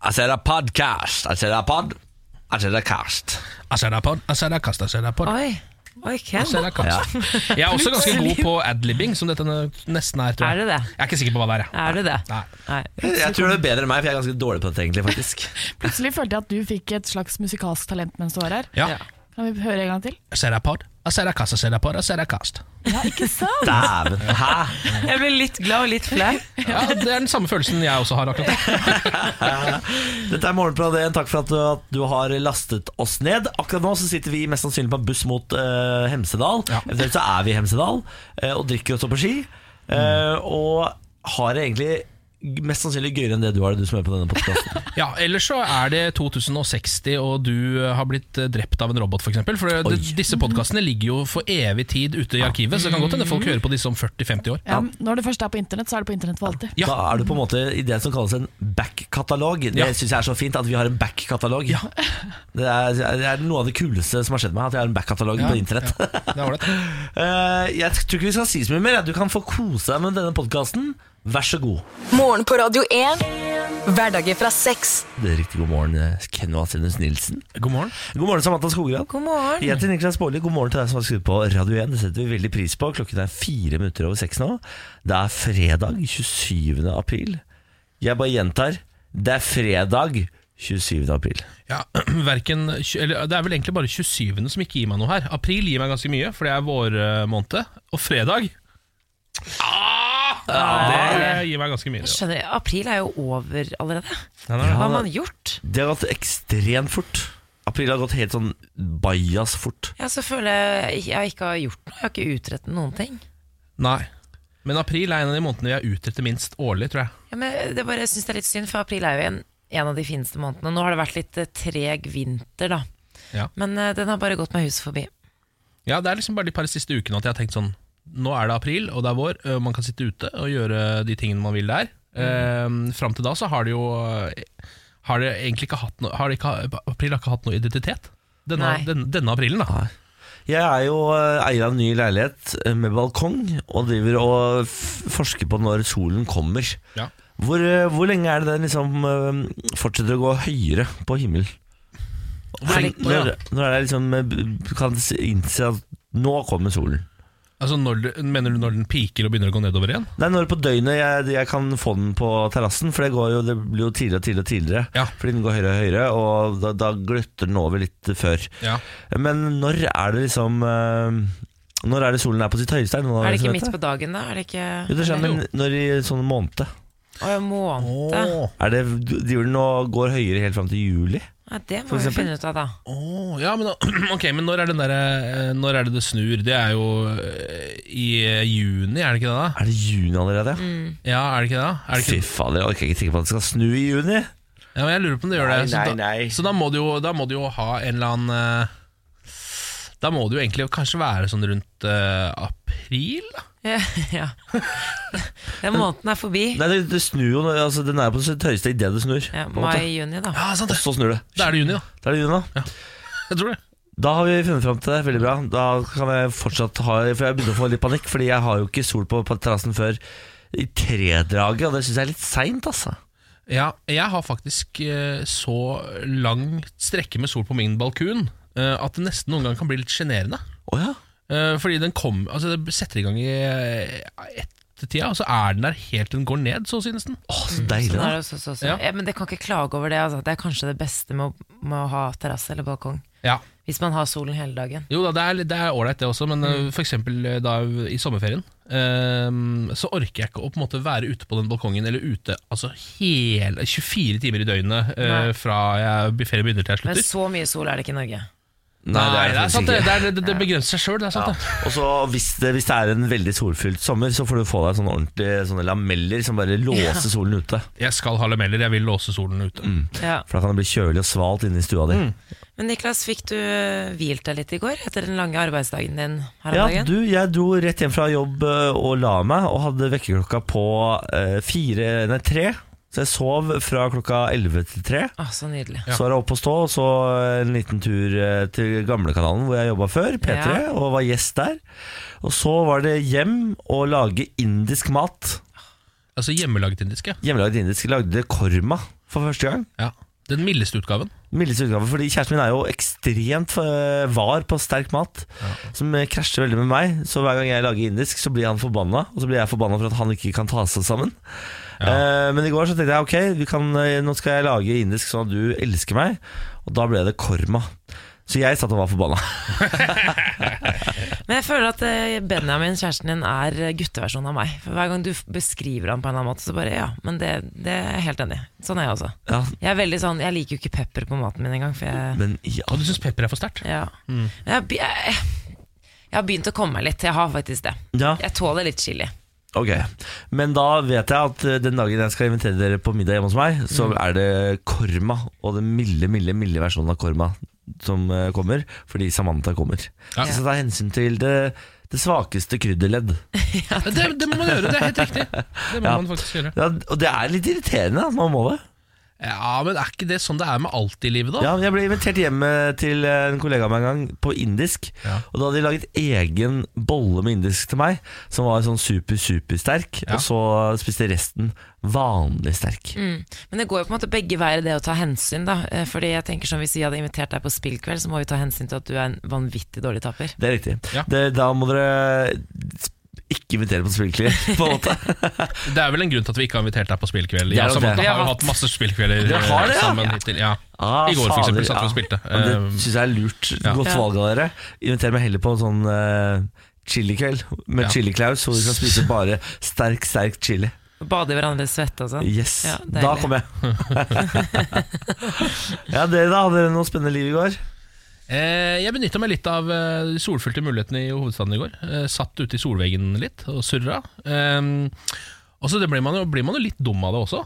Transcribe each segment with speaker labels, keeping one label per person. Speaker 1: Jeg ser deg podcast. Jeg ser deg pod. Jeg ser deg cast.
Speaker 2: Asadapod, Asadakast, Asadapod.
Speaker 3: Oi, oi, Ken.
Speaker 2: Asadakast. Jeg er også ganske god på adlibbing, som dette nesten er. Tror jeg.
Speaker 3: Er det det?
Speaker 2: Jeg er ikke sikker på hva det er. jeg.
Speaker 3: Er du det?
Speaker 2: Nei.
Speaker 3: Nei.
Speaker 1: Jeg tror du er bedre enn meg, for jeg er ganske dårlig på dette, egentlig. faktisk
Speaker 4: Plutselig følte jeg at du fikk et slags musikalsk talent mens du var her.
Speaker 2: Ja.
Speaker 3: Ja.
Speaker 4: Kan vi høre en gang til?
Speaker 2: Asadapod, Asadakast, Asadapod, Asadakast.
Speaker 4: Ja, ikke sant?
Speaker 1: Dæven. Hæ?
Speaker 3: Jeg blir litt glad og litt flau.
Speaker 2: Ja, det er den samme følelsen jeg også har akkurat nå.
Speaker 1: Dette er Morgenbladet 1. Takk for at du, at du har lastet oss ned. Akkurat nå så sitter vi mest sannsynlig på en buss mot eh, Hemsedal.
Speaker 2: Ja.
Speaker 1: Eventuelt så er vi i Hemsedal eh, og drikker og står på ski. Eh, og har det egentlig mest sannsynlig gøyere enn det du har det, du som hører på denne podkasten.
Speaker 2: Ja, Ellers så er det 2060 og du eh, har blitt eh, drept av en robot, f.eks. For, eksempel. for det, disse podkastene ligger jo for evig tid ute i arkivet, så det kan godt hende folk
Speaker 3: Mm.
Speaker 2: hører på disse om 40-50 år.
Speaker 4: Ja, når det først er på internett, så er det på internett for alltid.
Speaker 2: Ja.
Speaker 1: Da er du på en måte i det som kalles en back-katalog. Det
Speaker 2: Ja.
Speaker 1: synes syns jeg er så fint, at vi har en back-katalog. Det, er- det er noe av det kuleste som har skjedd meg, at jeg har en back-katalog på internett.
Speaker 2: Det er ålreit.
Speaker 1: Eh, jeg tror ikke vi skal si så mye mer. ja. Du kan få kose deg med denne podkasten. Vær så god.
Speaker 5: Morgen på Radio 1. Hverdager fra seks.
Speaker 1: Det er Riktig god morgen, eh, Ken Vasenus Nilsen.
Speaker 2: God morgen.
Speaker 1: God morgen, Samantha Skogran.
Speaker 3: God morgen.
Speaker 1: Jeg heter Niklas Baarli. God morgen til deg som har skrudd på Radio 1. Det setter vi veldig pris på. Klokken er fire minutter over seks nå. Det er fredag 27. april. Jeg bare gjentar. Det er fredag 27. april.
Speaker 2: Ja, hverken, eller, Det er vel egentlig bare 27. som ikke gir meg noe her. April gir meg ganske mye, for det er vårmåned. Og fredag ah, ja, Det gir meg ganske mye. Ja.
Speaker 3: Skjønner, jeg, april er jo over allerede.
Speaker 2: Den er-
Speaker 3: Hva har
Speaker 1: da-
Speaker 3: man gjort?
Speaker 1: Det har gått ekstremt fort. April har gått helt sånn bajas fort.
Speaker 3: Ja, så føler jeg jeg ikke har gjort noe. Jeg har ikke utrettet noen ting.
Speaker 2: Nei. Men april er en av de månedene vi er ute etter minst årlig, tror jeg.
Speaker 3: Ja, men det bare, jeg synes det er litt synd, for april er jo en, en av de fineste månedene. Nå har det vært litt eh, treg vinter, da.
Speaker 2: Ja.
Speaker 3: Men eh, den har bare gått meg huset forbi.
Speaker 2: Ja, Det er liksom bare de par siste ukene at jeg har tenkt sånn Nå er det april, og det er vår. øh, Man kan sitte ute og gjøre de tingene man vil der. Mm. Fram til da så har det jo øh, Har det egentlig ikke hatt noe har det ikke, April har ikke hatt noe identitet. Denne,
Speaker 3: Nei.
Speaker 2: den, denne aprilen, da.
Speaker 1: Jeg er jo eh, eier av en ny leilighet eh, med balkong, og driver og f- forsker på når solen kommer.
Speaker 2: Ja.
Speaker 1: Hvor, eh, hvor lenge er det den liksom eh, fortsetter å gå høyere på himmelen?
Speaker 2: Hvor lenge- Å,
Speaker 1: Når,
Speaker 2: ja.
Speaker 1: når er det liksom eh, b- kan s- innse at nå kommer solen?
Speaker 2: Altså, når du, Mener du når den piker og begynner å gå nedover igjen?
Speaker 1: Nei, når på døgnet jeg, jeg kan få den på terrassen, for det, går jo, det blir jo tidligere og tidligere. og tidligere
Speaker 2: Ja.
Speaker 1: Fordi den går høyere og høyere, og da, da gløtter den over litt før.
Speaker 2: Ja.
Speaker 1: Men når er det liksom eh, Når er det solen er på sitt høyeste? noen av
Speaker 3: Er det
Speaker 1: dere som
Speaker 3: ikke
Speaker 1: vet
Speaker 3: midt på dagen, da? Er det ikke
Speaker 1: Jo, det skjer, men når i sånn måned
Speaker 3: Å, en måned?
Speaker 1: er det, Driver den og går høyere helt fram til juli?
Speaker 3: Ja, det
Speaker 1: For
Speaker 3: må vi
Speaker 1: eksempel?
Speaker 3: finne ut av, da.
Speaker 2: Åh, ja, men, da- ok, men når er, den der, eh, når er det det snur? Det er jo eh, i eh, juni, er det ikke det? da?
Speaker 1: Er det juni allerede?
Speaker 3: Mm.
Speaker 2: Ja, er det ikke det? da? Er det ikke
Speaker 1: Fy fader, jeg er ikke sikker på at det skal snu i juni.
Speaker 2: Ja, men jeg lurer på om det gjør
Speaker 1: Nei,
Speaker 2: det. Så,
Speaker 1: nei,
Speaker 2: da,
Speaker 1: nei.
Speaker 2: så da, må du jo, da må du jo ha en eller annen eh, Da må det jo egentlig kanskje være sånn rundt eh, april? da?
Speaker 3: ja. Den måneden er forbi.
Speaker 1: Nei, det, det snur jo nå, altså, Den er på sitt høyeste idet det snur.
Speaker 3: Ja,
Speaker 1: på en måte.
Speaker 3: Mai-juni, da.
Speaker 2: Ja, sant
Speaker 1: Og
Speaker 2: det.
Speaker 1: så snur det.
Speaker 2: Da er det juni, da.
Speaker 1: Da er det juni, da.
Speaker 2: Jeg tror det.
Speaker 1: Da har vi funnet fram til det. Veldig bra. Da kan jeg fortsatt ha For jeg begynner å få litt panikk, Fordi jeg har jo ikke sol på, på terrassen før i tredraget, og det syns jeg er litt seint, altså.
Speaker 2: Ja, jeg har faktisk eh, så langt strekke med sol på min balkon eh, at det nesten noen ganger kan bli litt sjenerende.
Speaker 1: Å ja.
Speaker 2: Eh, fordi den kom, altså det setter i gang i uh, ettertida, og så er den der helt til den går ned, så å si nesten.
Speaker 1: Å, så deilig,
Speaker 3: Sånn
Speaker 1: da.
Speaker 3: er det også, så, så.
Speaker 2: Ja.
Speaker 3: Ja, men det kan ikke klage over det. Altså. Det er kanskje det beste med å, med å ha terrasse eller balkong.
Speaker 2: Ja.
Speaker 3: Hvis man har solen hele dagen.
Speaker 2: Jo da, det er- det er ålreit det også, men eh, for eksempel eh, da i sommerferien eh, så orker jeg ikke å på en måte være ute på den balkongen eller ute altså hele 24 timer i døgnet eh,
Speaker 3: Nei.
Speaker 2: fra jeg ferien begynner til jeg
Speaker 3: Men
Speaker 2: slutter.
Speaker 3: så mye sol er det ikke i Norge.
Speaker 2: Nei, det er,
Speaker 1: faktisk
Speaker 2: sant,
Speaker 1: ikke.
Speaker 2: det, det, er, det, det begrenser seg sjøl, det er sant det.
Speaker 1: Og så hvis det, hvis det er en veldig solfylt sommer, så får du få deg sånne ordentlige sånne lameller som bare låser solen ute.
Speaker 2: Jeg skal ha lameller, jeg vil låse solen ute.
Speaker 3: Ja.
Speaker 1: For da kan det bli kjølig og svalt inne i stua di.
Speaker 3: Men Niklas, fikk du hvilt deg litt i går etter den lange arbeidsdagen din her om
Speaker 1: Ja,
Speaker 3: dagen?
Speaker 1: du, jeg dro rett hjem fra jobb eh, og la meg, og hadde vekkerklokka på eh, fire, nei tre. Så jeg sov fra klokka elleve til tre.
Speaker 3: Å, så nydelig.
Speaker 2: Ja.
Speaker 1: Så var jeg oppe og stå, og så en liten tur eh, til gamlekanalen hvor jeg jobba før, P3,
Speaker 3: Ja.
Speaker 1: og var gjest der. Og så var det hjem og lage indisk mat.
Speaker 2: Altså hjemmelaget indisk, ja.
Speaker 1: Hjemmelaget indisk lagde korma for første gang.
Speaker 2: Ja. Den mildeste utgaven.
Speaker 1: Mildeste utgave, fordi kjæresten min er jo ekstremt eh, var på sterk mat, som eh, krasjer veldig med meg. Så hver gang jeg lager indisk, så blir han forbanna, og så blir jeg forbanna for at han ikke kan ta seg sammen. Eh, men i går så tenkte jeg ok, vi kan, eh, nå skal jeg lage indisk sånn at du elsker meg, og da ble det korma. Så jeg satt og var forbanna.
Speaker 3: Men jeg føler at eh, Benjamin, kjæresten din, er eh, gutteversjonen av meg. For Hver gang du f- beskriver han på en eller annen måte, så bare ja. Men det, det er jeg helt enig i. Sånn er jeg også.
Speaker 1: Ja,
Speaker 3: Jeg er veldig sånn, jeg liker jo ikke pepper på maten min engang, for jeg
Speaker 1: men ja,
Speaker 2: Og du syns pepper er for sterkt?
Speaker 3: Ja.
Speaker 2: Mm.
Speaker 3: Jeg, be- jeg, jeg har begynt å komme meg litt. Jeg har faktisk det.
Speaker 1: ja.
Speaker 3: Jeg tåler litt chili.
Speaker 1: Ok, men da vet jeg at eh, den dagen jeg skal invitere dere på middag hjemme hos meg, så
Speaker 2: Mm.
Speaker 1: er det korma, og den milde, milde, milde versjonen av korma som eh, kommer, fordi Samantha kommer.
Speaker 2: Ja.
Speaker 1: Så ta hensyn til det, det svakeste krydderledd.
Speaker 2: Det, det må man gjøre, det er helt riktig. Det må
Speaker 1: Ja.
Speaker 2: man faktisk gjøre.
Speaker 1: Ja, og det er litt irriterende at man må det.
Speaker 2: Ja, Men er ikke det sånn det er med alt i livet, da?
Speaker 1: Ja, jeg ble invitert hjem eh, til en kollega av meg en gang på indisk,
Speaker 2: Ja.
Speaker 1: og da hadde de laget egen bolle med indisk til meg, som var sånn super, super sterk,
Speaker 2: Ja.
Speaker 1: og så spiste resten vanlig sterk.
Speaker 3: Men det går jo på en måte begge veier, det å ta hensyn, da. Eh, Fordi jeg tenker som hvis vi hadde invitert deg på spillkveld, så må vi ta hensyn til at du er en vanvittig dårlig taper.
Speaker 1: Det er riktig.
Speaker 2: Ja.
Speaker 1: Det, da må dere ikke invitere på spillklipp, på en måte.
Speaker 2: Det er vel en grunn til at vi ikke har invitert deg på spillkveld.
Speaker 1: Det er
Speaker 2: Ja,
Speaker 1: nok
Speaker 2: Samantha
Speaker 1: det.
Speaker 2: har
Speaker 3: Vi
Speaker 2: jo
Speaker 3: har
Speaker 2: hatt masse spillkvelder
Speaker 1: Dere har det,
Speaker 2: eh,
Speaker 1: ja?
Speaker 2: sammen hittil. Ja.
Speaker 1: Ah,
Speaker 2: I går for eksempel,
Speaker 1: fader,
Speaker 2: satt vi og
Speaker 1: ja.
Speaker 2: spilte.
Speaker 1: Ja, men
Speaker 2: Eh,
Speaker 1: Det syns jeg er lurt.
Speaker 2: ja.
Speaker 1: Godt
Speaker 3: Ja.
Speaker 1: valg av dere. Inviter meg heller på en sånn uh, chilikveld med
Speaker 2: Ja.
Speaker 1: chili-Klaus, hvor vi kan spise bare sterk, sterk chili.
Speaker 3: Bade i hverandres svette og sånn.
Speaker 1: Yes,
Speaker 3: Ja, deilig.
Speaker 1: Da kommer jeg. ja, dere da? Hadde dere noe spennende liv i går?
Speaker 2: Eh, jeg benytta meg litt av eh, de solfylte mulighetene i hovedstaden i går. Eh, satt ute i solveggen litt og surra. Ehm, og så det blir, man jo, blir man jo litt dum av det også.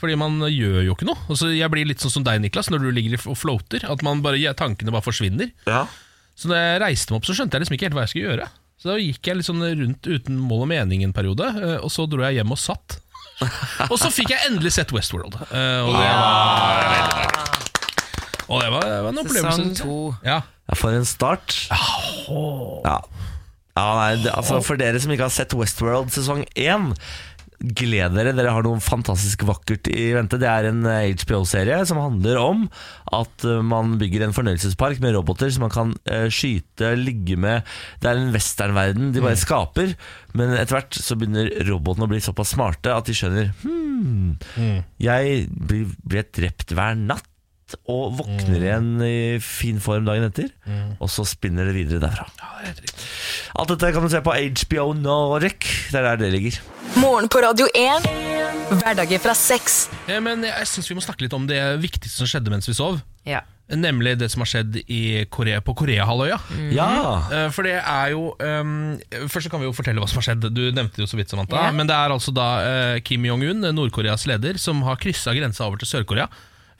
Speaker 2: Fordi man gjør jo ikke noe. Og så jeg blir litt sånn som deg, Niklas, når du ligger og floater. At man bare, tankene bare forsvinner.
Speaker 1: Ja.
Speaker 2: Så da jeg reiste meg opp, så skjønte jeg liksom ikke helt hva jeg skulle gjøre. Så da gikk jeg litt sånn rundt uten mål og mening en periode, eh, og så dro jeg hjem og satt. og så fikk jeg endelig sett Westworld. eh, Og det var, og det var, det var en opplevelse.
Speaker 3: Sesong
Speaker 2: synes jeg.
Speaker 3: to.
Speaker 2: Ja.
Speaker 1: For en start. Ja. ja nei, det, altså, for dere som ikke har sett Westworld sesong 1 Gled dere, dere har noe fantastisk vakkert i vente. Det er en eh, HBO-serie som handler om at eh, man bygger en fornøyelsespark med roboter som man kan eh, skyte, ligge med Det er en westernverden de bare skaper. Men etter hvert så begynner robotene å bli såpass smarte at de skjønner hmm, Jeg blir, blir drept hver natt. Og våkner igjen i fin form dagen etter, og så spinner det videre derfra.
Speaker 2: ja, det er helt riktig.
Speaker 1: Alt dette kan du se på HBO Nordic. Det er der det ligger.
Speaker 5: Morgen på Radio 1. Hverdager fra seks.
Speaker 2: Eh, Men jeg syns vi må snakke litt om det viktigste som skjedde mens vi sov.
Speaker 3: Ja.
Speaker 2: Nemlig det som har skjedd i Korea, på Koreahalvøya.
Speaker 1: Ja!
Speaker 2: Eh, For det er jo ehm, Først så kan vi jo fortelle hva som har skjedd. Du nevnte det jo så vidt, Samantha.
Speaker 3: Ja.
Speaker 2: Men det er altså da eh, Kim Jong-un, Nord-Koreas leder, som har kryssa grensa over til Sør-Korea.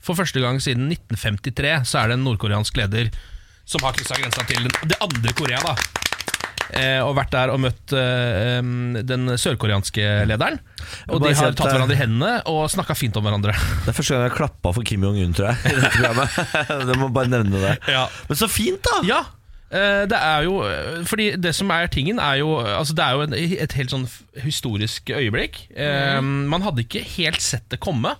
Speaker 2: For første gang siden 1953 så er det en nordkoreansk leder som har kryssa grensa til den- det andre Korea, da. Eh, og vært der og møtt eh, em, den sørkoreanske lederen. Og
Speaker 1: Bare
Speaker 2: de
Speaker 1: si
Speaker 2: har
Speaker 1: at,
Speaker 2: tatt
Speaker 1: eh,
Speaker 2: hverandre i hendene og snakka fint om hverandre.
Speaker 1: Det er første gang jeg har klappa for Kim Jong-un, tror jeg. I dette programmet Du må bare nevne det.
Speaker 2: Ja.
Speaker 1: Men så fint, da!
Speaker 2: Ja, eh, det er jo eh, Fordi det som er tingen er jo altså Det er jo en, et helt sånn f- historisk øyeblikk Eh, Man hadde ikke helt sett det komme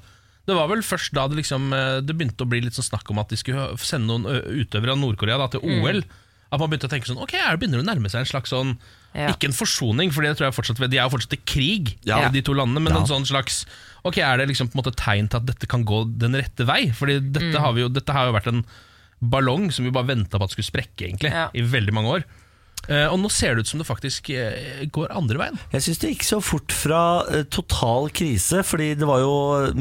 Speaker 2: Det var vel først da det liksom eh, Det begynte å bli litt sånn snakk om at de skulle ha- sende noen ø, utøvere av Nordkorea da, til OL At man begynte å tenke sånn Ok, her begynner det å nærme seg en slags sånn
Speaker 3: Ja.
Speaker 2: Ikke en forsoning, for det tror jeg fortsatt De er jo fortsatt i krig,
Speaker 1: Ja.
Speaker 2: de to landene Men
Speaker 1: Ja.
Speaker 2: en sånn slags Ok, er det liksom på en måte tegn til at dette kan gå den rette vei? Fordi dette,
Speaker 1: Mm.
Speaker 2: har, vi jo, dette har jo vært en ballong som vi bare venta på at skulle sprekke, egentlig.
Speaker 3: Ja.
Speaker 2: I veldig mange år. Eh, og nå ser det ut som det faktisk eh, går andre veien.
Speaker 1: Jeg syns det gikk så fort fra eh, total krise, fordi det var jo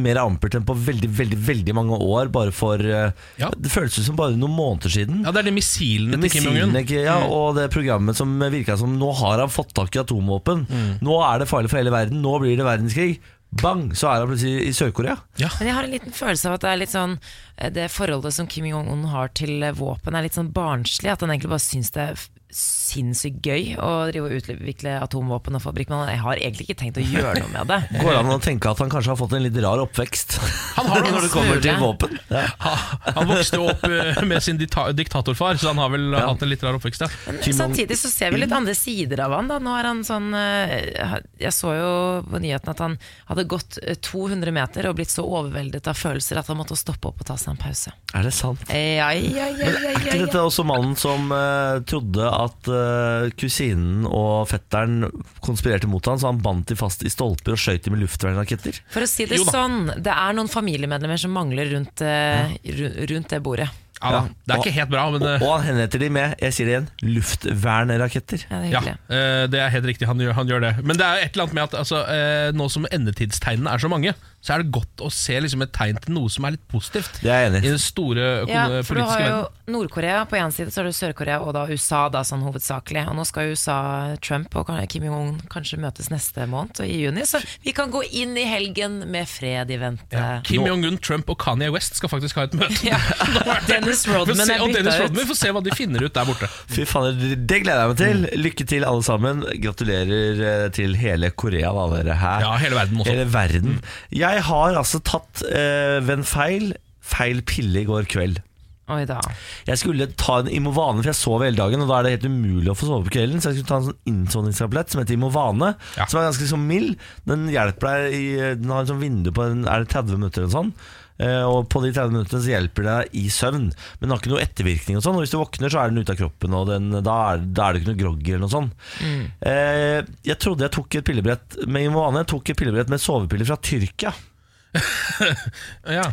Speaker 1: mer ampert enn på veldig, veldig veldig mange år. Bare for eh,
Speaker 2: Ja.
Speaker 1: Det føles ut som bare noen måneder siden.
Speaker 2: Ja, Det er de missilene til Kim Jong-un.
Speaker 1: Missilene, ikke- ja, og det programmet som virka som Nå har han fått tak i atomvåpen. Nå er det farlig for hele verden. Nå blir det verdenskrig. Bang, så er han plutselig i Sør-Korea.
Speaker 2: Ja.
Speaker 3: Men jeg har en liten følelse av at det er litt sånn eh, Det forholdet som Kim Jong-un har til eh, våpen, er litt sånn barnslig. At han egentlig bare syns det er f- sinnssykt gøy å drive og utvikle atomvåpen og fabrikk, men jeg har egentlig ikke tenkt å gjøre noe med det.
Speaker 1: Går det an å tenke at han kanskje har fått en litt rar oppvekst?
Speaker 2: Han har
Speaker 1: Når
Speaker 2: noen
Speaker 1: det kommer til
Speaker 3: smule.
Speaker 1: våpen. Ja.
Speaker 2: Han vokste jo opp eh, med sin dita diktatorfar, så han har vel hatt en litt rar oppvekst. Ja.
Speaker 3: Men
Speaker 1: Timon-
Speaker 3: samtidig så ser vi litt andre sider av han da. Nå er han sånn eh, Jeg så jo på nyheten at han hadde gått eh, 200 meter og blitt så overveldet av følelser at han måtte stoppe opp og ta seg en pause.
Speaker 1: Er det sant?
Speaker 3: Eh, Ja, ja, ja,
Speaker 1: Men
Speaker 3: ja,
Speaker 1: er ikke
Speaker 3: ja, ja.
Speaker 1: dette også mannen som eh, trodde at eh, kusinen og fetteren konspirerte mot han, så han bandt de fast i stolper og skjøt dem med luftvernraketter?
Speaker 3: For å si det
Speaker 2: Jo da.
Speaker 3: sånn, det er noen familiemedlemmer som mangler rundt, eh, ru- rundt det bordet.
Speaker 2: Ja, da. Det er ikke helt bra, men
Speaker 1: Og,
Speaker 2: eh,
Speaker 1: og han henretter de med, jeg sier det igjen, luftvernraketter.
Speaker 3: Ja, det er
Speaker 2: ja,
Speaker 3: hyggelig.
Speaker 2: eh, det er helt riktig. Han gjør, han gjør det. Men det er jo et eller annet med at altså, eh, nå som endetidstegnene er så mange, så er det godt å se liksom, et tegn til noe som er litt positivt.
Speaker 1: Det er jeg
Speaker 2: I
Speaker 1: enig i.
Speaker 2: den store øko-
Speaker 3: Ja, for du
Speaker 2: politiske
Speaker 3: har jo
Speaker 2: verden.
Speaker 3: Nord-Korea på én side, så har du Sør-Korea og da USA da, sånn hovedsakelig. Og nå skal jo USA, Trump og kan- Kim Jong-un kanskje møtes neste måned og i juni, så vi kan gå inn i helgen med fred i vente.
Speaker 2: Kim Jong-un, Trump og Kanye West skal faktisk ha et møte.
Speaker 3: Ja. Dennis
Speaker 2: Vi får
Speaker 3: Rodman
Speaker 2: se,
Speaker 3: er
Speaker 2: og Dennis
Speaker 3: bytta
Speaker 2: Rodman
Speaker 3: ut.
Speaker 2: får se hva de finner ut der borte.
Speaker 1: Fy faen, det gleder jeg meg
Speaker 2: Mm.
Speaker 1: til. Lykke til, alle sammen. Gratulerer eh, til hele Korea, da, dere her.
Speaker 2: Ja, hele verden også. Mm.
Speaker 1: Hele verden. Jeg har altså tatt eh, ved en feil, feil pille i går kveld.
Speaker 3: Oi da.
Speaker 1: Jeg skulle ta en Imovane, for jeg sov hele dagen, og da er det helt umulig å få sove på kvelden. Så jeg skulle ta en sånn innsovningstablett som heter Imovane,
Speaker 2: Ja.
Speaker 1: som er ganske sånn mild. Den hjelper deg i Den har en sånn vindu på en, er det 30 minutter eller sånn. Eh, Og på de 30 minuttene så hjelper det deg i søvn, men den har ikke noe ettervirkning. og sånn Og Hvis du våkner, så er den ute av kroppen, og den, da, er, da er det ikke noe groggy eller noe sånn. Eh, jeg trodde jeg tok et pillebrett med Imovane. Jeg tok et pillebrett med sovepiller fra Tyrkia.
Speaker 2: Ja.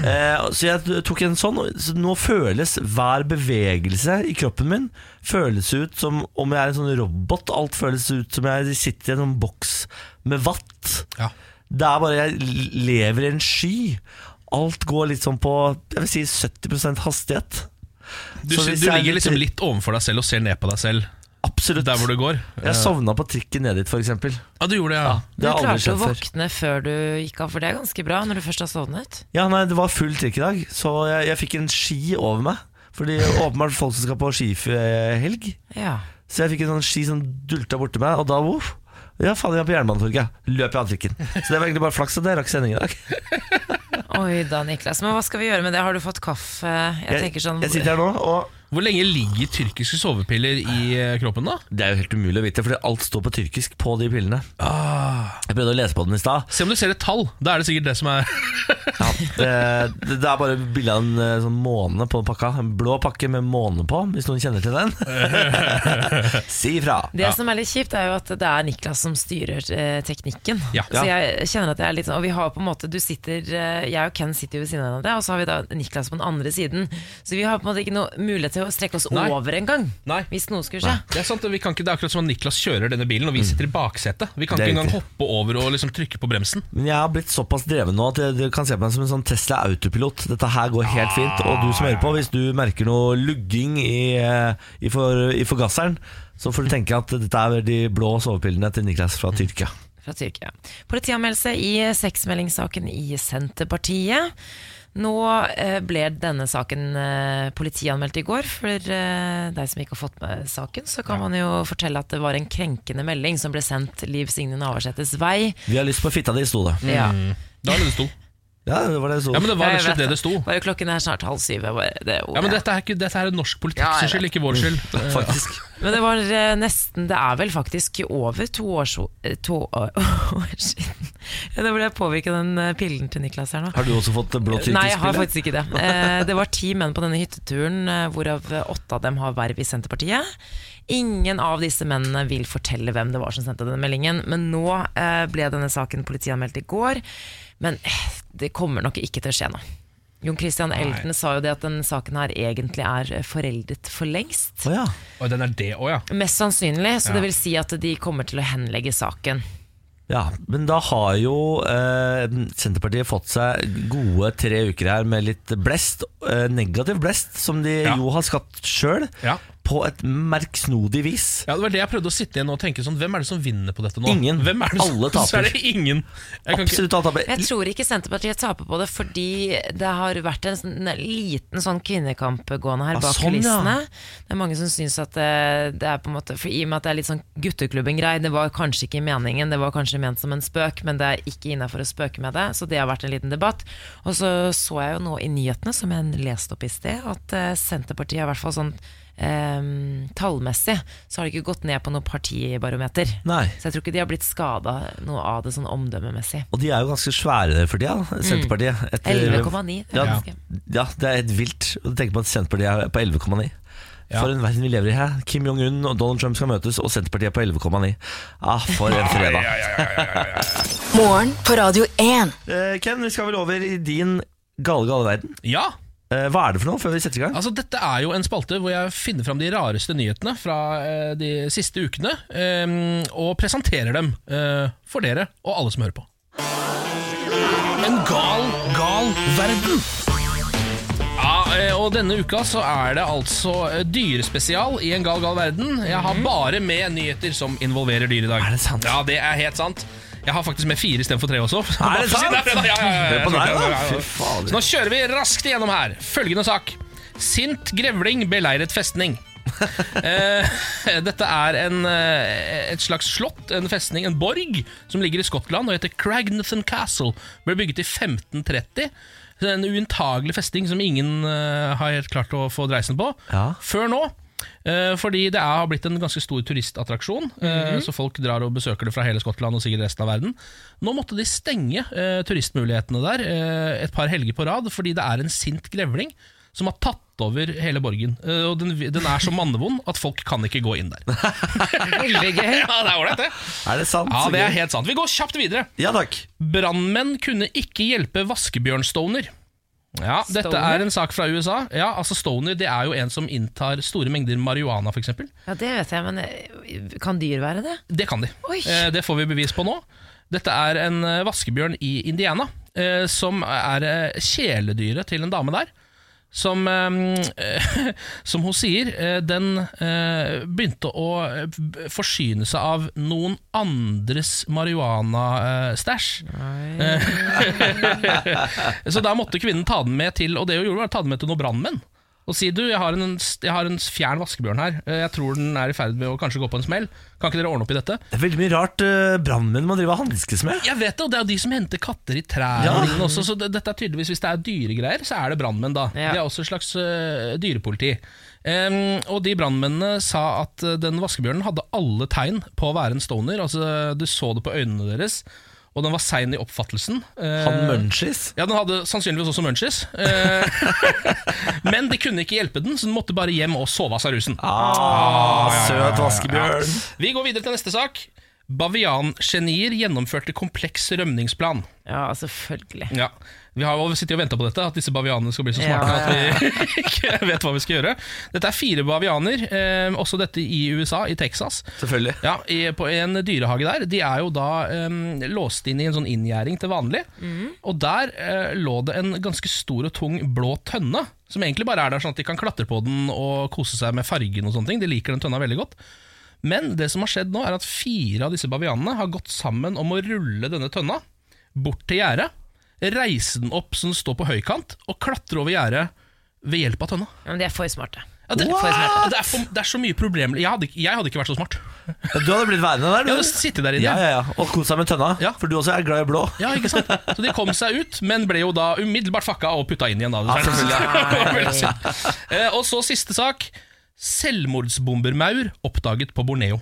Speaker 1: Eh, så jeg tok en sånn så Nå føles hver bevegelse i kroppen min Føles ut som om jeg er en sånn robot Alt føles ut som jeg sitter i en sånn boks med vatt
Speaker 2: Ja.
Speaker 1: Det er bare jeg lever i en sky Alt går litt sånn på Jeg vil si 70% hastighet
Speaker 2: Du,
Speaker 1: Så
Speaker 2: sy-
Speaker 1: hvis
Speaker 2: du
Speaker 1: jeg er
Speaker 2: ligger
Speaker 1: litt-
Speaker 2: liksom litt ovenfor deg selv og ser ned på deg selv
Speaker 1: Absolutt
Speaker 2: der hvor du går.
Speaker 1: Jeg sovna på trikken ned dit for eksempel
Speaker 2: Ja, du gjorde det, ja.
Speaker 1: Det
Speaker 3: Du
Speaker 1: har aldri
Speaker 3: klarte å
Speaker 1: skjedd før
Speaker 3: våkne før du gikk av, for det er ganske bra når du først har sovnet.
Speaker 1: Ja, nei, det var full trikk i dag Så jeg, jeg fikk en ski over meg Fordi åpenbart folk som skal på skihelg
Speaker 3: Ja.
Speaker 1: Så jeg fikk en sånn ski som dulta borti meg, og da voff. Ja, faen, jeg er på Jernbanetorget. Løp i antrikken. Så det var egentlig bare flaks at jeg rakk sending i dag.
Speaker 3: Oi da, Niklas. Men hva skal vi gjøre med det? Har du fått kaffe? Jeg, tenker sånn
Speaker 1: jeg sitter her nå, og
Speaker 2: Hvor lenge ligger tyrkiske sovepiller i eh, kroppen, da?
Speaker 1: det er jo helt umulig å vite, fordi alt står på tyrkisk på de pillene. Jeg prøvde å lese på den i stad.
Speaker 2: Se om du ser et tall. Da er det sikkert det som er
Speaker 1: Ja, det, Eh, det det er bare bilde av en eh, sånn måne på pakka. En blå pakke med måne på, hvis noen kjenner til den. si ifra.
Speaker 3: Det som er litt kjipt, er jo at det er Niklas som styrer eh, teknikken.
Speaker 2: Ja.
Speaker 3: Så jeg kjenner at jeg er litt sånn Og vi har på en måte Du sitter eh, Jeg og Ken sitter jo ved siden av hverandre, og så har vi da Niklas på den andre siden. Så vi har på en måte ikke noe mulighet til å strekke oss
Speaker 2: Nei.
Speaker 3: over engang.
Speaker 2: Nei.
Speaker 3: Hvis noe skulle skje.
Speaker 2: Det er sant, vi kan ikke, det er akkurat som at Niklas kjører denne bilen, og vi sitter i baksetet. Vi kan
Speaker 1: Mm. Det er
Speaker 2: ikke engang
Speaker 1: riktig.
Speaker 2: hoppe over og liksom trykke på bremsen.
Speaker 1: Men jeg har blitt såpass dreven nå at jeg- dere kan se på meg som en sånn Tesla autopilot. Dette her går helt fint. Og du som hører på, hvis du merker noe lugging i, eh, i, for, i forgasseren, så får du tenke at dette er de blå sovepillene til Niklas fra Tyrkia.
Speaker 3: Fra Tyrkia. Politianmeldelse i sexmeldingssaken i Senterpartiet. Nå eh, ble denne saken eh, politianmeldt i går. For eh, deg som ikke har fått med saken, så kan man jo fortelle at det var en krenkende melding som ble sendt Liv Signe Navarsetes vei.
Speaker 1: Vi har lyst på fitta di, sto det.
Speaker 3: Ja.
Speaker 2: Da er det det sto.
Speaker 1: Ja, det var det det sto.
Speaker 2: Ja, men det var
Speaker 3: Jeg
Speaker 2: rett og slett
Speaker 3: vet
Speaker 2: det det sto.
Speaker 3: Bare klokken er snart halv syv. jeg Bare, det ordet.
Speaker 2: Ja, men dette er, ikke, dette er norsk
Speaker 3: Ja,
Speaker 2: politikks
Speaker 3: jeg Mm.
Speaker 2: skyld, ikke vår skyld.
Speaker 1: Faktisk.
Speaker 3: Men det var eh, nesten Det er vel faktisk over to år, so- eh, to år, år siden. Ja, Nå ble jeg påvirket av den eh, pillen til Niklas her nå.
Speaker 1: Har du også fått blå tyrkisk
Speaker 3: Nei, jeg har
Speaker 1: pille?
Speaker 3: faktisk ikke det. Eh, det var ti menn på denne hytteturen, eh, hvorav åtte av dem har verv i Senterpartiet. Ingen av disse mennene vil fortelle hvem det var som sendte denne meldingen, men nå eh, ble denne saken politianmeldt i går. Men eh, det kommer nok ikke til å skje nå. Jon Christian Elten sa jo det at den saken her egentlig er eh, foreldet for lengst.
Speaker 1: Å ja.
Speaker 2: Og den er det òg, ja.
Speaker 3: Mest sannsynlig, så
Speaker 2: Ja.
Speaker 3: det vil si at de kommer til å henlegge saken.
Speaker 1: ja. Men da har jo eh, Senterpartiet fått seg gode tre uker her med litt blest. Eh, negativ blest, som de
Speaker 2: Ja.
Speaker 1: jo har skapt sjøl.
Speaker 2: Ja.
Speaker 1: på et merksnodig vis.
Speaker 2: Ja, det var det jeg prøvde å sitte igjen og tenke sånn Hvem er det som vinner på dette nå?
Speaker 1: Ingen.
Speaker 2: Hvem er det som,
Speaker 1: Alle taper.
Speaker 2: Så er det ingen. Jeg kan ikke,
Speaker 1: Absolutt alt
Speaker 3: Men Jeg
Speaker 1: annet.
Speaker 3: tror ikke Senterpartiet taper på det, fordi det har vært en sånn- en liten sånn kvinnekamp gående her
Speaker 1: Ah,
Speaker 3: bak
Speaker 1: sånn, ja.
Speaker 3: kulissene. Det er mange som syns at eh, det er på en måte For i og med at det er litt sånn gutteklubben-grei, det var kanskje ikke meningen, det var kanskje ment som en spøk, men det er ikke innafor å spøke med det, så det har vært en liten debatt. Og så så jeg jo nå i nyhetene, som jeg leste opp i sted, at eh, Senterpartiet er i hvert fall sånn eh, tallmessig så har de ikke gått ned på noe partibarometer.
Speaker 1: Nei.
Speaker 3: Så jeg tror ikke de har blitt skada noe av det sånn omdømmemessig.
Speaker 1: Og de er jo ganske svære for tida, Senterpartiet.
Speaker 3: Mm.
Speaker 1: Etter-
Speaker 3: 11,9.
Speaker 1: Ja,
Speaker 2: Ja.
Speaker 1: ja, det er helt vilt å tenke på at Senterpartiet er på 11,9.
Speaker 2: Ja.
Speaker 1: For en verden vi lever i her. Kim Jong-un og Donald Trump skal møtes, og Senterpartiet er på 11,9. Ah, for en fredag.
Speaker 5: Morgen på Radio 1.
Speaker 1: Eh, Ken, vi skal vel over i din gale, gale verden.
Speaker 2: ja,
Speaker 1: Eh, hva er det for noe, før vi setter i gang?
Speaker 2: altså Dette er jo en spalte hvor jeg finner fram de rareste nyhetene fra eh, de siste ukene, eh, og presenterer dem eh, for dere og alle som hører på. En gal, gal verden. Ja, eh, og denne uka så er det altså eh, dyrespesial i En gal, gal verden. Jeg har bare med nyheter som involverer dyr i dag.
Speaker 1: Mhm. Er det sant?
Speaker 2: Ja, det er helt sant. Jeg har faktisk med fire istedenfor tre også.
Speaker 1: Er det sant?
Speaker 2: Bare for å si det er fredag. Ja, ja, ja, ja,
Speaker 1: Hør på
Speaker 2: jeg
Speaker 1: deg, da.
Speaker 2: tror det. Ja, ja, ja.
Speaker 1: Fy fader.
Speaker 2: Så nå kjører vi raskt igjennom her. Følgende sak. Sint grevling beleiret festning. Eh, dette er en, eh, et slags slott, en festning, en borg, som ligger i Skottland og heter Cragnathan Castle. Ble bygget i 1530. Så det er En uinntagelig festning som ingen eh, har helt klart å få dreisen på.
Speaker 1: Ja.
Speaker 2: Før nå. eh, fordi det er, har blitt en ganske stor turistattraksjon, eh, så folk drar og besøker det fra hele Skottland og sikkert resten av verden. Nå måtte de stenge eh, turistmulighetene der eh, et par helger på rad, fordi det er en sint grevling som har tatt over hele borgen. Eh, og den, den er så mannevond at folk kan ikke gå inn der. Veldig gøy. Ja, det er ålreit, det.
Speaker 1: Er det sant?
Speaker 2: Ja,
Speaker 1: Så
Speaker 2: det er
Speaker 1: gøy.
Speaker 2: helt sant. Vi går kjapt videre.
Speaker 1: ja takk.
Speaker 2: Brannmenn kunne ikke hjelpe vaskebjørnstoner. Ja, Dette
Speaker 3: Stoner?
Speaker 2: er en sak fra USA. Ja, altså Stoner det er jo en som inntar store mengder marihuana, f.eks.
Speaker 3: Ja, det vet jeg, men eh, kan dyr være det?
Speaker 2: Det kan de.
Speaker 3: Oi.
Speaker 2: Eh, Det får vi bevis på nå. Dette er en eh, vaskebjørn i Indiana, eh, som er eh, kjæledyret til en dame der. Som, eh, som hun sier, eh, den eh, begynte å eh, b- forsyne seg av noen andres eh, marihuana-stæsj. Så da måtte kvinnen ta den med til Og det hun gjorde var å ta den med til noen brannmenn Og si du, jeg har, en, jeg har en fjern vaskebjørn her Eh, Jeg tror den er i ferd med å kanskje gå på en smell Kan ikke dere ordne opp i dette?
Speaker 1: Det er veldig mye rart uh, brannmenn må drive og hanskes med.
Speaker 2: Jeg vet det, og det er jo de som henter katter i trær
Speaker 1: Ja.
Speaker 2: og lignende også, Så det, dette er tydeligvis, hvis det er dyregreier Så er det brandmenn da
Speaker 3: Ja.
Speaker 2: Det er også et slags eh, dyrepoliti Em, og de brandmennene sa at eh, den vaskebjørnen hadde alle tegn på å være en stoner Altså, du så det på øynene deres Og den var sein i oppfattelsen Eh,
Speaker 1: Han munchies.
Speaker 2: ja, Den hadde sannsynligvis også munchies. Eh, men de kunne ikke hjelpe den, så den måtte bare hjem og sove av seg rusen.
Speaker 1: Ah, søt vaskebjørn.
Speaker 2: Vi går videre til neste sak. Baviangenier gjennomførte kompleks rømningsplan.
Speaker 3: Ja, selvfølgelig.
Speaker 2: Ja, Vi har jo sittet og venta på dette, at disse bavianene skal bli så
Speaker 3: Ja,
Speaker 2: smarte at vi ikke vet hva vi skal gjøre. Dette er fire bavianer, eh, også dette i USA, i Texas.
Speaker 1: Selvfølgelig.
Speaker 2: Ja, i, på en dyrehage der. De er jo da em, låst inn i en sånn inngjerding til vanlig. Og der eh, lå det en ganske stor og tung blå tønne, som egentlig bare er der sånn at de kan klatre på den og kose seg med fargen og sånne ting. De liker den tønna veldig godt. Men det som har skjedd nå, er at fire av disse bavianene har gått sammen om å rulle denne tønna bort til gjerdet, reise den opp så den står på høykant, og klatre over gjerdet ved hjelp av tønna.
Speaker 3: Ja, Men de er for smarte.
Speaker 2: Ja, det,
Speaker 3: For smarte.
Speaker 2: det, er, for, det er så mye problemer Jeg hadde, ikke- jeg hadde ikke vært så smart.
Speaker 1: Ja, du hadde blitt værende der, du.
Speaker 2: Jeg hadde sittet der inne.
Speaker 1: ja, ja, ja. Og kost deg med tønna,
Speaker 2: Ja.
Speaker 1: for du også er glad i blå.
Speaker 2: Ja, ikke sant? Så de kom seg ut, men ble jo da umiddelbart fucka og putta inn igjen. Da.
Speaker 1: Ja, selvfølgelig.
Speaker 2: Det var veldig synd. Eh, og så siste sak. Selvmordsbombermaur oppdaget på Borneo.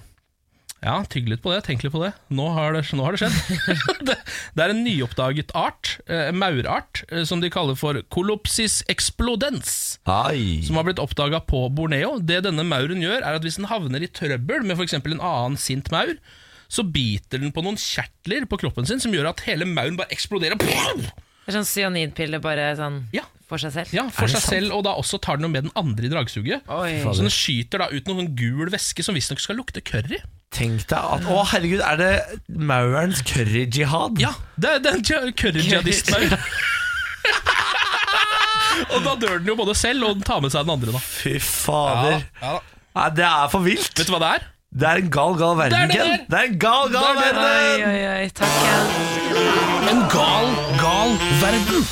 Speaker 2: Ja, tygg litt på det, tenk litt på det. Nå har det, nå har det skjedd. det, det er en nyoppdaget art, eh, maurart, eh, som de kaller for colopsis explodens
Speaker 1: Ai.
Speaker 2: som har blitt oppdaga på Borneo. Det denne mauren gjør, er at hvis den havner i trøbbel med f.eks. en annen sint maur, så biter den på noen kjertler på kroppen sin som gjør at hele mauren bare eksploderer.
Speaker 3: Det er sånn cyanidpille bare sånn
Speaker 2: Ja,
Speaker 3: for seg selv.
Speaker 2: ja for
Speaker 1: det
Speaker 2: seg
Speaker 1: sant?
Speaker 2: selv, og da også tar den jo med den andre i dragsuget.
Speaker 3: Oi.
Speaker 2: Så den skyter da ut noen sånn gul væske som visstnok skal lukte curry.
Speaker 1: Tenk deg at Å, herregud, er det maurens curry-jihad?
Speaker 2: Ja, det er det er en curry-jihadist-maur. og da dør den jo både selv, og den tar med seg den andre, da.
Speaker 1: Fy fader.
Speaker 2: Ja, ja da.
Speaker 1: Nei, det er for vilt!
Speaker 2: Vet du hva det er?
Speaker 1: Det er en gal, gal verden,
Speaker 2: Det er det
Speaker 1: Ken.
Speaker 2: der.
Speaker 1: Det er en gal, gal
Speaker 2: Det er det
Speaker 1: verden!
Speaker 3: Oi, oi, oi. Takk, Ken.
Speaker 2: En gal, gal verden!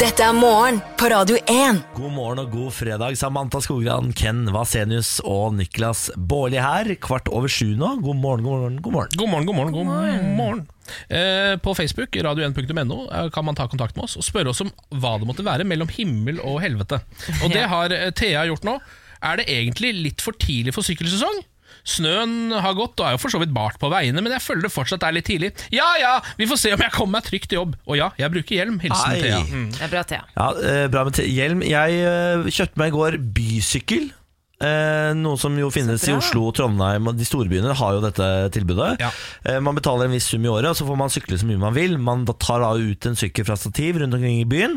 Speaker 5: Dette er morgen på Radio 1.
Speaker 1: God morgen og god fredag. Samantha Skogran, Ken Vasenius og Niklas Baarli her. Kvart over sju nå. God morgen, god morgen, god morgen.
Speaker 2: God morgen, god morgen. god morgen, Eh, På Facebook, radio1.no, eh, kan man ta kontakt med oss og spørre oss om hva det måtte være mellom himmel og helvete. Og det har eh, Thea gjort nå. Er det egentlig litt for tidlig for sykkelsesong? Snøen har gått og er jo for så vidt bart på veiene, men jeg føler det fortsatt er litt tidlig. Ja ja, vi får se om jeg kommer meg trygt til jobb. Og ja, jeg bruker hjelm. Hilsen
Speaker 1: Ei.
Speaker 2: Thea.
Speaker 3: Det er bra, Thea.
Speaker 1: Ja, eh, Bra med te- hjelm. Jeg eh, kjøpte meg i går bysykkel. Eh, noe som jo finnes i
Speaker 3: bra.
Speaker 1: Oslo, Trondheim og de store byene har jo dette tilbudet.
Speaker 2: Ja.
Speaker 1: Eh, man betaler en viss sum i året, og så får man sykle så mye man vil. Man da tar da ut en sykkel fra stativ rundt omkring i byen,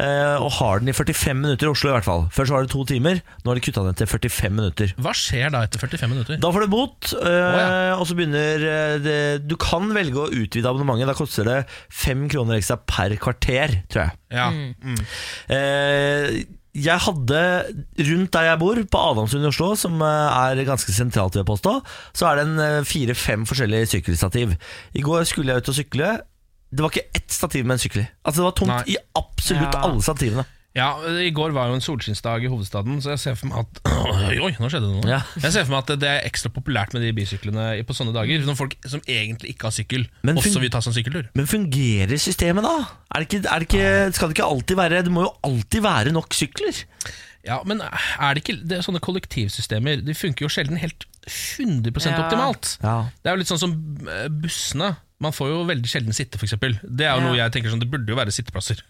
Speaker 1: eh, og har den i 45 minutter i Oslo i hvert fall. Før så var det to timer, nå har de kutta den til 45 minutter.
Speaker 2: Hva skjer da etter 45 minutter?
Speaker 1: Da får du bot, øh, og så begynner øh, det, Du kan velge å utvide abonnementet. Da koster det fem kroner ekstra per kvarter, tror jeg.
Speaker 2: Ja.
Speaker 1: Eh, jeg hadde Rundt der jeg bor, på Adamsund i Oslo, som eh, er ganske sentralt, vil jeg påstå, så er det en eh, fire-fem forskjellige sykkelstativ. I går skulle jeg ut og sykle. Det var ikke ett stativ med en sykkel i. Altså, det var tomt
Speaker 2: Nei.
Speaker 1: i absolutt
Speaker 3: Ja.
Speaker 1: alle stativene.
Speaker 2: Ja, I går var jo en solskinnsdag i hovedstaden, så jeg ser for meg at Oi, oi, nå skjedde det noe.
Speaker 1: Ja.
Speaker 2: Jeg ser for meg at det er ekstra populært med de bisyklene på sånne dager. Når folk som egentlig ikke har sykkel,
Speaker 1: Men
Speaker 2: også
Speaker 1: fun-
Speaker 2: vil ta seg en sykkeltur.
Speaker 1: Men fungerer systemet da? Er det ikke, er det ikke, skal det ikke alltid være Det må jo alltid være nok sykler.
Speaker 2: Ja, Men er det ikke det er sånne kollektivsystemer De funker jo sjelden helt 100
Speaker 3: Ja.
Speaker 2: optimalt.
Speaker 1: Ja.
Speaker 2: Det er jo litt sånn som eh, bussene. Man får jo veldig sjelden sitte, f.eks. Det er jo
Speaker 3: Ja.
Speaker 2: noe jeg tenker sånn, det burde jo være sitteplasser.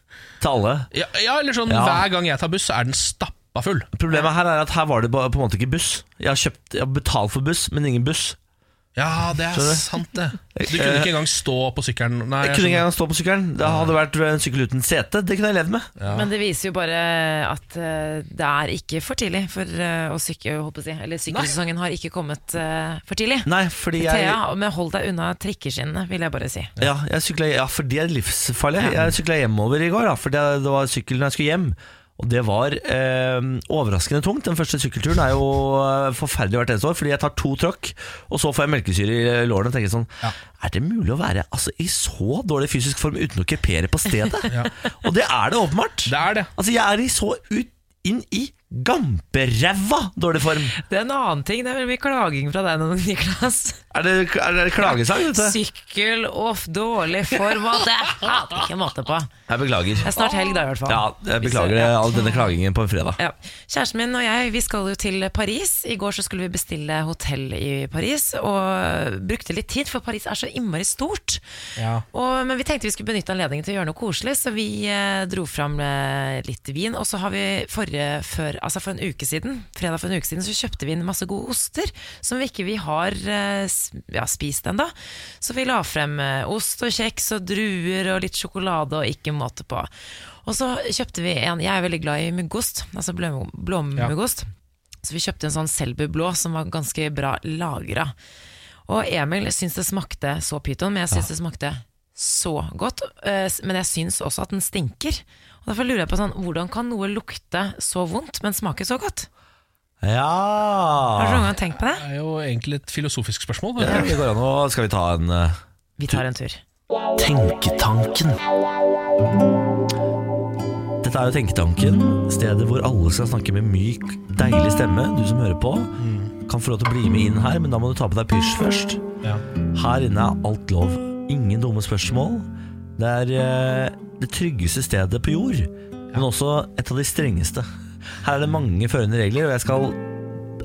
Speaker 1: Til alle.
Speaker 2: Ja, ja eller sånn,
Speaker 1: Ja.
Speaker 2: Hver gang jeg tar buss, så er den stappa full.
Speaker 1: Problemet her er at her var det ba- på en måte ikke buss. Jeg har, kjøpt, jeg har betalt for buss, men ingen buss.
Speaker 2: Ja, det er
Speaker 1: Skjønner du?
Speaker 2: sant, det. Du kunne ikke engang stå på sykkelen. Nei,
Speaker 1: Jeg kunne ikke
Speaker 2: jeg skjønner.
Speaker 1: engang stå på sykkelen. Det hadde vært en sykkel uten sete. Det kunne jeg levd med.
Speaker 3: Men det viser jo bare at eh, det er ikke for tidlig for eh, å sykle, håper jeg, å si. eller sykkelsesongen har ikke kommet eh, for tidlig.
Speaker 1: Nei, fordi jeg
Speaker 3: Thea, men hold deg unna trikkeskinnene, vil jeg bare si.
Speaker 1: ja, jeg syklet, ja, for de er livsfarlige. Jeg sykla hjemover i går, da, for det, det var sykkel når jeg skulle hjem. Og det var eh, overraskende tungt. Den første sykkelturen er jo eh, forferdelig hvert eneste år, fordi jeg tar to tråkk, og så får jeg melkesyre i lårene og tenker sånn Er det mulig å være altså, i så dårlig fysisk form uten å krepere på stedet? Og det er det åpenbart.
Speaker 2: Det er det.
Speaker 1: Altså, jeg er i så ut, inn i gamperæva dårlig form.
Speaker 3: Det er en annen ting, det er vel mye klaging fra deg nå, Niklas.
Speaker 1: Er det, er det klagesang, dette?
Speaker 3: Sykkel og f- dårlig form og det er ikke måte på. Det
Speaker 1: Jeg beklager.
Speaker 3: er snart helg, da, i hvert fall.
Speaker 1: Ja, jeg beklager
Speaker 3: Ja.
Speaker 1: all denne klagingen på en fredag.
Speaker 3: Ja. Kjæresten min og jeg vi skal jo til Paris. I går så skulle vi bestille hotell i Paris, og brukte litt tid, for Paris er så innmari stort.
Speaker 2: Ja.
Speaker 3: Og, men vi tenkte vi skulle benytte anledningen til å gjøre noe koselig, så vi eh, dro fram eh, litt vin. Og så har vi forrige, før, altså for en uke siden, fredag for en uke siden, så kjøpte vi inn masse gode oster som vi ikke vi har eh, s- ja, spist ennå. Så vi la frem eh, ost og kjeks og druer og litt sjokolade og ikke måte på. Og så kjøpte vi en Jeg er veldig glad i muggost, altså blå- blåmuggost. Så vi kjøpte en sånn Selbu blå som var ganske bra lagra. Og Emil syns det smakte så pyton, men jeg syns det smakte så godt. Eh, s- Men jeg syns også at den stinker. Og Derfor lurer jeg på sånn, hvordan kan noe lukte så vondt, men smake så godt? Har dere
Speaker 1: Ja
Speaker 3: noen gang tenkt på det?
Speaker 2: Det er jo egentlig et filosofisk spørsmål.
Speaker 1: Ja, Det går an å Skal vi ta en eh,
Speaker 3: Vi tar en tur.
Speaker 1: Tenketanken? Dette er jo Tenketanken, stedet hvor alle skal snakke med myk, deilig stemme. Du som hører på, kan få lov til å bli med inn her, men da må du ta på deg pysj først.
Speaker 2: Ja.
Speaker 1: Her inne er alt lov. Ingen dumme spørsmål. Det er eh, det tryggeste stedet på jord, men også et av de strengeste. Her er det mange førende regler, og jeg skal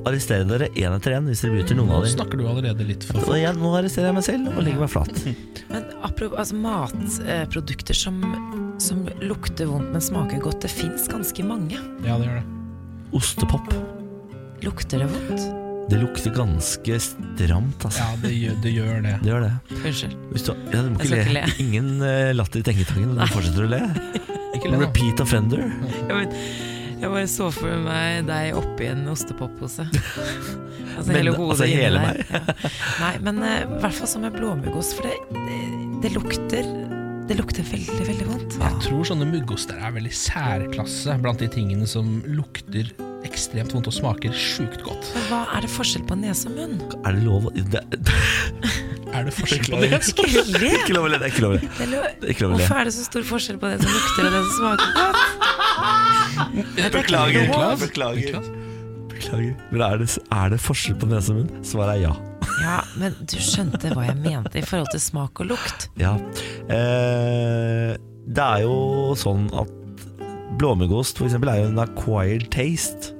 Speaker 1: arrestere dere én etter én hvis dere bryter noen av
Speaker 2: Nå
Speaker 1: dem.
Speaker 2: snakker du allerede litt for
Speaker 1: Og jeg, nå arresterer jeg meg selv og legger meg flat.
Speaker 3: Men apropos altså matprodukter som, som lukter vondt, men smaker godt, det fins ganske mange.
Speaker 2: Ja, det gjør det.
Speaker 1: Ostepop.
Speaker 3: Lukter det vondt?
Speaker 1: Det lukter ganske stramt, altså.
Speaker 2: Ja, det gjør det. Gjør det.
Speaker 1: Det gjør det.
Speaker 3: Unnskyld.
Speaker 1: Hvis du, ja, du må ikke
Speaker 3: Jeg skal
Speaker 1: le.
Speaker 3: ikke le.
Speaker 1: Ingen eh, latter i tenketanken, og du fortsetter å le.
Speaker 2: Ikke le, da.
Speaker 1: Repeat offender.
Speaker 3: Jeg, vet, jeg bare så for meg deg oppi en ostepoppose. altså
Speaker 1: Men,
Speaker 3: hele hodet
Speaker 1: altså,
Speaker 3: inni
Speaker 1: hele
Speaker 3: der. Ja. Nei, men eh, i hvert fall som med blåmuggost, for det, det, det lukter Det lukter veldig, veldig vondt.
Speaker 2: Jeg tror sånne muggoster er veldig særklasse blant de tingene som lukter ekstremt vondt og smaker sjukt godt.
Speaker 3: Men hva er det forskjell på nese og munn?
Speaker 1: Er det lov å det, det,
Speaker 2: Er det forskjell på
Speaker 1: Beklager.
Speaker 2: det?
Speaker 3: Ikke le!
Speaker 1: Ikke lov å le, det er ikke lov å le.
Speaker 3: Eller-
Speaker 1: Det er ikke lov å le.
Speaker 3: Hvorfor er det så stor forskjell på det som lukter og det som smaker godt?
Speaker 1: Beklager.
Speaker 2: Niklas?
Speaker 1: Beklager.
Speaker 2: Niklas?
Speaker 1: Beklager. Men er det, er det forskjell på nese og munn? Svaret er ja.
Speaker 3: Ja, men du skjønte hva jeg mente i forhold til smak og lukt.
Speaker 1: ja. Eh, det er jo sånn at blåmuggost for eksempel er jo en acquired taste.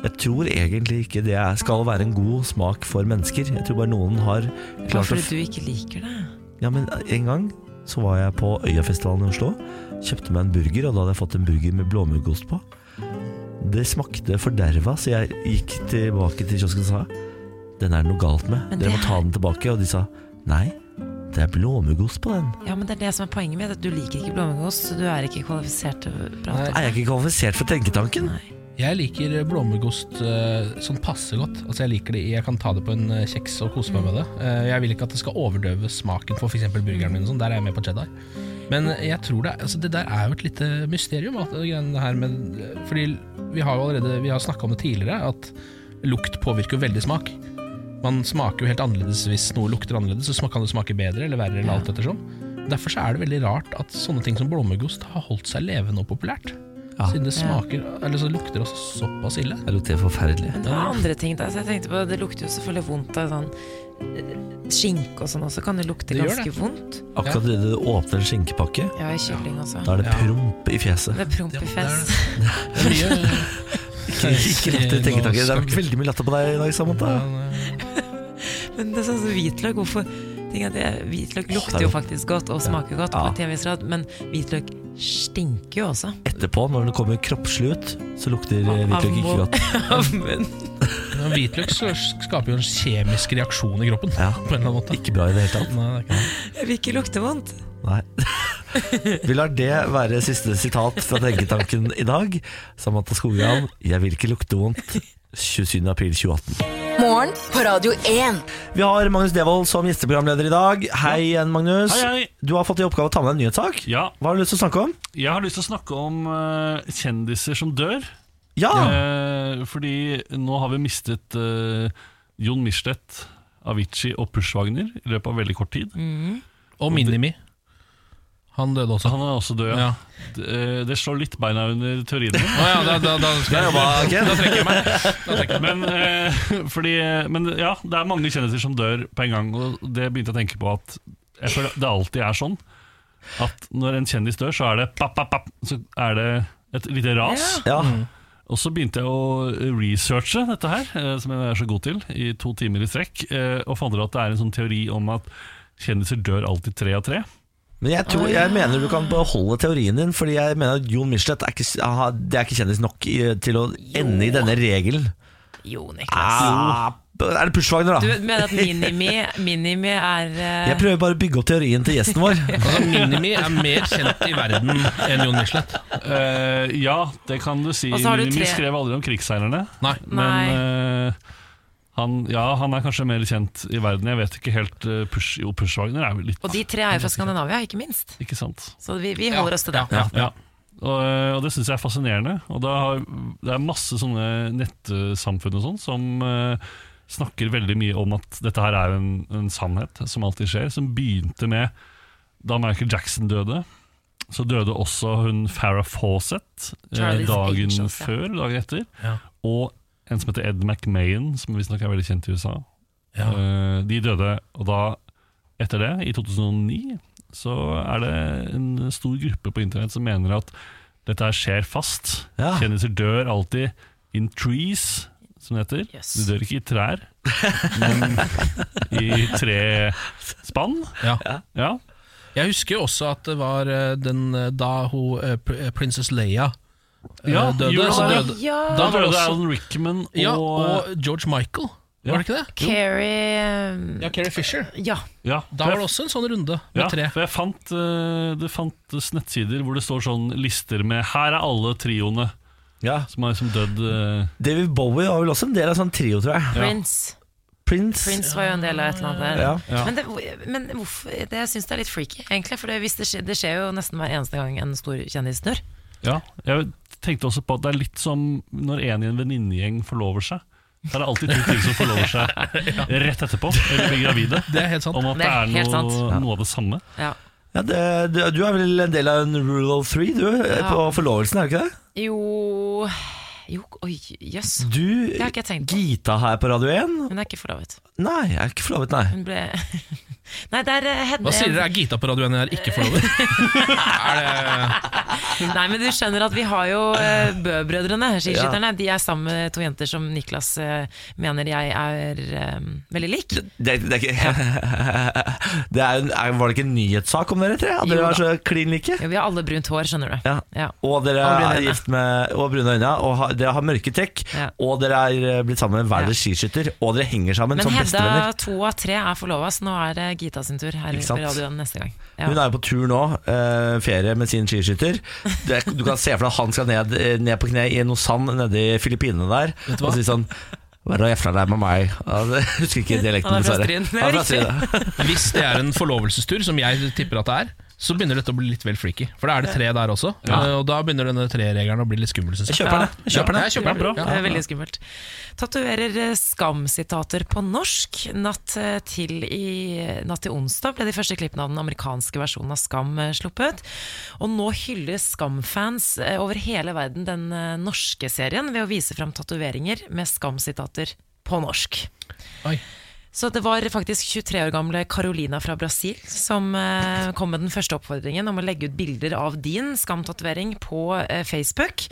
Speaker 1: Jeg tror egentlig ikke det er, skal være en god smak for mennesker. Jeg tror bare noen har
Speaker 3: Bare
Speaker 1: klart å
Speaker 3: fordi du ikke liker det.
Speaker 1: Ja, men en gang så var jeg på Øyafestivalen i Oslo. Kjøpte meg en burger, og da hadde jeg fått en burger med blåmuggost på. Det smakte forderva, så jeg gikk tilbake til kiosken og sa den er det noe galt med.
Speaker 3: Men
Speaker 1: Dere
Speaker 3: det
Speaker 1: må ta
Speaker 3: er-
Speaker 1: den tilbake. Og de sa nei, det er blåmuggost på den.
Speaker 3: Ja, men det er det som er poenget mitt, at du liker ikke blåmuggost, så du er ikke kvalifisert til å prate om
Speaker 1: Er jeg
Speaker 3: det.
Speaker 1: ikke kvalifisert for tenketanken?
Speaker 3: Nei.
Speaker 2: Jeg liker blåmuggost eh, sånn passe godt. Altså Jeg liker det, jeg kan ta det på en eh, kjeks og kose meg med det. Eh, jeg vil ikke at det skal overdøve smaken for f.eks. burgeren min. og Sånn. Der er jeg med på cheddar. Men jeg tror det, er- altså det der er jo et lite mysterium. At, det greiene her med, eh, fordi vi har jo allerede Vi har snakka om det tidligere, at lukt påvirker jo veldig smak. Man smaker jo helt annerledes hvis noe lukter annerledes, så smak- kan det smake bedre eller verre. eller alt ettersom Derfor så er det veldig rart at sånne ting som blåmuggost har holdt seg levende og populært.
Speaker 1: Ja.
Speaker 2: Siden det smaker, eller så lukter også såpass ille.
Speaker 1: Det lukter forferdelig.
Speaker 3: Men det var andre ting da, så jeg tenkte på, det lukter jo selvfølgelig vondt av sånn eh, skinke og sånn også, kan det lukte
Speaker 2: Det gjør
Speaker 3: ganske
Speaker 2: det.
Speaker 3: vondt?
Speaker 1: Akkurat idet du åpner en skinkepakke,
Speaker 3: Ja, i kylling også.
Speaker 1: da er det
Speaker 2: Ja.
Speaker 1: promp i fjeset.
Speaker 3: Det er promp
Speaker 2: Ja, det
Speaker 3: i
Speaker 2: er
Speaker 3: fest.
Speaker 2: Det er mye
Speaker 1: Ikke ikke rett i tenketanken. Det er veldig mye latter på deg i dag, Samantha.
Speaker 3: Men det er sånn som hvitløk, hvorfor tenker jeg at det, Hvitløk
Speaker 1: det
Speaker 3: lukter
Speaker 1: er
Speaker 3: jo
Speaker 1: godt.
Speaker 3: faktisk godt og smaker godt,
Speaker 1: Ja.
Speaker 3: på til en viss grad, men hvitløk stinker jo også.
Speaker 1: Etterpå, når det kommer kroppslig ut, så lukter eh,
Speaker 3: Av-
Speaker 1: hvitløk ikke
Speaker 3: av-
Speaker 1: godt.
Speaker 3: Men
Speaker 2: Men Hvitløk så skaper jo en kjemisk reaksjon i kroppen.
Speaker 1: Ja.
Speaker 2: På en eller annen måte.
Speaker 1: Ikke bra i det hele tatt.
Speaker 2: Nei, det er ikke det.
Speaker 3: jeg vil ikke lukte vondt.
Speaker 1: Nei. Vi lar det være siste sitat fra Tenketanken i dag. Samantha Skogran, 'Jeg vil ikke lukte vondt'. 27. april 2018.
Speaker 5: Morgen på Radio 1.
Speaker 1: Vi har Magnus Devold som gjesteprogramleder i dag. Hei igjen, Magnus.
Speaker 6: Hei, hei.
Speaker 1: Du har fått i oppgave å ta med deg en nyhetssak.
Speaker 6: Ja,
Speaker 1: Hva har du lyst til å snakke om?
Speaker 6: jeg har lyst til å snakke om eh, kjendiser som dør.
Speaker 1: Ja!
Speaker 6: Eh, fordi nå har vi mistet eh, Jon Michelet, Avicii og Pushwagner i løpet av veldig kort tid.
Speaker 2: Og Minimi. Han døde også.
Speaker 6: Han er også død.
Speaker 2: Ja.
Speaker 6: Ja. D- eh, det slår litt beina under teorien min.
Speaker 2: Å ja, da, da, da, skal jeg, da trekker jeg meg. Da trekker jeg meg.
Speaker 6: Men, eh, fordi, men ja, det er mange kjendiser som dør på en gang, og det begynte jeg å tenke på at jeg føler det alltid er sånn at når en kjendis dør, så er det, papp, papp, papp, så er det et lite ras.
Speaker 1: ja.
Speaker 6: Og så begynte jeg å researche dette her, eh, som jeg er så god til, i to timer i strekk, eh, og fant ut at det er en sånn teori om at kjendiser dør alltid tre av tre.
Speaker 1: Men jeg, tror, jeg mener du kan beholde teorien din, fordi jeg mener at Jon Michelet er ikke, aha, det er ikke kjendis nok i, til å ende i denne regelen.
Speaker 3: Jo, Niklas.
Speaker 1: Ah, er det Pushwagner,
Speaker 3: Du
Speaker 1: da?
Speaker 3: mener at Minimi, minimi er eh,
Speaker 1: Jeg prøver bare å bygge opp teorien til gjesten vår.
Speaker 2: Altså, Minimi er mer kjent i verden enn Jon Michelet.
Speaker 6: Eh, ja, det kan du si.
Speaker 3: Og så har du
Speaker 6: Mimmi
Speaker 3: tre-
Speaker 6: skrev aldri om krigsseilerne,
Speaker 2: Nei.
Speaker 6: men eh, han, ja, han er kanskje mer kjent i verden. Jeg vet ikke helt eh, push, Jo, Pushwagner er vel litt
Speaker 3: Og de tre er jo fra Skandinavia, ikke minst.
Speaker 6: Ikke sant?
Speaker 3: Så vi, vi holder oss til det.
Speaker 2: Ja, ja,
Speaker 6: Ja. Og, eh, og det syns jeg er fascinerende. Og det, har, det er masse sånne nettsamfunn og sånn som eh, snakker veldig mye om at dette her er jo en, en sannhet som alltid skjer, som begynte med da Michael Jackson døde. Så døde også hun Farrah Fawcett eh,
Speaker 3: Charlie's
Speaker 6: dagen
Speaker 3: Angels, ja.
Speaker 6: før, dagen etter.
Speaker 2: Ja.
Speaker 6: Og en som heter Ed McMahon, som visstnok er veldig kjent i USA.
Speaker 2: ja.
Speaker 6: Eh, De døde, og da, etter det, i 2009, så er det en stor gruppe på internett som mener at dette her skjer fast.
Speaker 1: Ja.
Speaker 6: Kjendiser dør alltid in trees, som det heter.
Speaker 3: Yes.
Speaker 6: De dør ikke i trær, men i tre spann.
Speaker 2: Ja.
Speaker 6: Ja.
Speaker 2: Jeg husker jo også at det var eh, den eh, da hun eh, pr- eh, Princess Leia eh,
Speaker 6: Ja,
Speaker 2: døde.
Speaker 6: jula
Speaker 2: Så
Speaker 6: var-
Speaker 2: døde
Speaker 3: Ja,
Speaker 2: Da
Speaker 6: Da
Speaker 2: var det
Speaker 6: døde
Speaker 2: også-
Speaker 6: Alan Rickman og, eh,
Speaker 2: ja, og George Michael,
Speaker 6: Ja.
Speaker 2: var det ikke det?
Speaker 3: Keri
Speaker 2: Ja, Carrie Fisher.
Speaker 3: Ja.
Speaker 6: ja,
Speaker 2: Da var det også en sånn runde med
Speaker 6: Ja,
Speaker 2: tre.
Speaker 6: for jeg fant, eh, det fantes nettsider hvor det står sånn lister med Her er alle trioene
Speaker 1: Ja.
Speaker 6: som har liksom dødd eh,
Speaker 1: David Bowie var vel også en del av sånn trio, tror jeg.
Speaker 3: Prince.
Speaker 1: Prince.
Speaker 3: Prince var jo en del av et eller annet der.
Speaker 1: Ja.
Speaker 6: Ja.
Speaker 3: Men, det, men hvorfor, det, jeg syns det er litt freaky, egentlig. For det, hvis det, skjer, det skjer jo nesten hver eneste gang en stor kjendis dør.
Speaker 6: Ja, jeg tenkte også på at det er litt som når en i en venninnegjeng forlover seg. Da er det alltid to ting som forlover seg rett etterpå, eller blir gravide.
Speaker 2: Det er helt sant.
Speaker 6: Om
Speaker 3: Det
Speaker 6: at det
Speaker 3: er
Speaker 6: er
Speaker 3: helt
Speaker 6: noe,
Speaker 3: sant.
Speaker 6: noe av det samme.
Speaker 3: Ja.
Speaker 1: Ja, det, du, du er vel en del av en rule of three du, på forlovelsen, er du ikke det?
Speaker 3: Jo Jo, oi, jøss.
Speaker 1: Du,
Speaker 3: Det har ikke jeg tenkt på.
Speaker 1: Gita her på Radio 1
Speaker 3: Hun er ikke forlovet.
Speaker 1: Nei, jeg er ikke forlovet, nei.
Speaker 3: Hun ble Nei, det er eh, Hedde
Speaker 2: Hva sier dere? Er Gita på radioen jeg er ikke forlovet? er det
Speaker 3: Nei, men du skjønner at vi har jo eh, Bø-brødrene, skiskytterne. De er sammen med to jenter som Niklas eh, mener jeg er eh, veldig lik.
Speaker 1: Det, det er ikke det er, en- er, Var det ikke en nyhetssak om dere tre? At
Speaker 3: Jo
Speaker 1: dere
Speaker 3: da.
Speaker 1: var så klin like?
Speaker 3: Ja, vi har alle brunt hår, skjønner du.
Speaker 1: Ja.
Speaker 3: Ja.
Speaker 1: Og dere
Speaker 3: Og brune
Speaker 1: er
Speaker 3: øyne.
Speaker 1: gift med Og brune øyne, og har, dere har mørke trekk.
Speaker 3: Ja.
Speaker 1: Og dere er eh, blitt sammen med hver
Speaker 3: Ja.
Speaker 1: deres skiskytter, og dere henger sammen
Speaker 3: Men
Speaker 1: som
Speaker 3: Hedda,
Speaker 1: bestevenner.
Speaker 3: to av tre er forlova, så nå er det Gita sin tur her
Speaker 1: Ikke sant?
Speaker 3: på radioen neste gang.
Speaker 1: Hun
Speaker 3: Ja.
Speaker 1: er jo på tur nå, eh, ferie med sin skiskytter. Det, du kan se for deg at han skal ned, eh, ned på kne i noe sand nede i Filippinene der.
Speaker 2: du hva?
Speaker 1: Og si sånn Hva er det jævla deg med meg? Ja, det- jeg husker ikke dialekten,
Speaker 3: Han er fra
Speaker 1: dessverre.
Speaker 3: Stryn. Det er
Speaker 1: Han er fra Stryn,
Speaker 3: riktig.
Speaker 1: ja.
Speaker 2: Hvis det er en forlovelsestur, som jeg tipper at det er, så begynner dette å bli litt vel freaky. For da er det tre der også, eh, og da begynner denne treregelen å bli litt skummel. Synes jeg.
Speaker 1: Jeg kjøper den. jeg.
Speaker 2: Ja,
Speaker 1: Kjøper den.
Speaker 2: jeg kjøper den.
Speaker 3: Det er veldig skummelt. Tatoverer eh, skamsitater på norsk. Natt eh, til, i, natt til onsdag ble de første klippene av den amerikanske versjonen av Skam eh, sluppet. Og nå hyller Skam-fans eh, over hele verden den eh, norske serien ved å vise fram tatoveringer med Skam-sitater på norsk.
Speaker 2: Oi.
Speaker 3: Så det var faktisk 23 år gamle Carolina fra Brasil som eh, kom med den første oppfordringen om å legge ut bilder av din skamtatovering på eh, Facebook.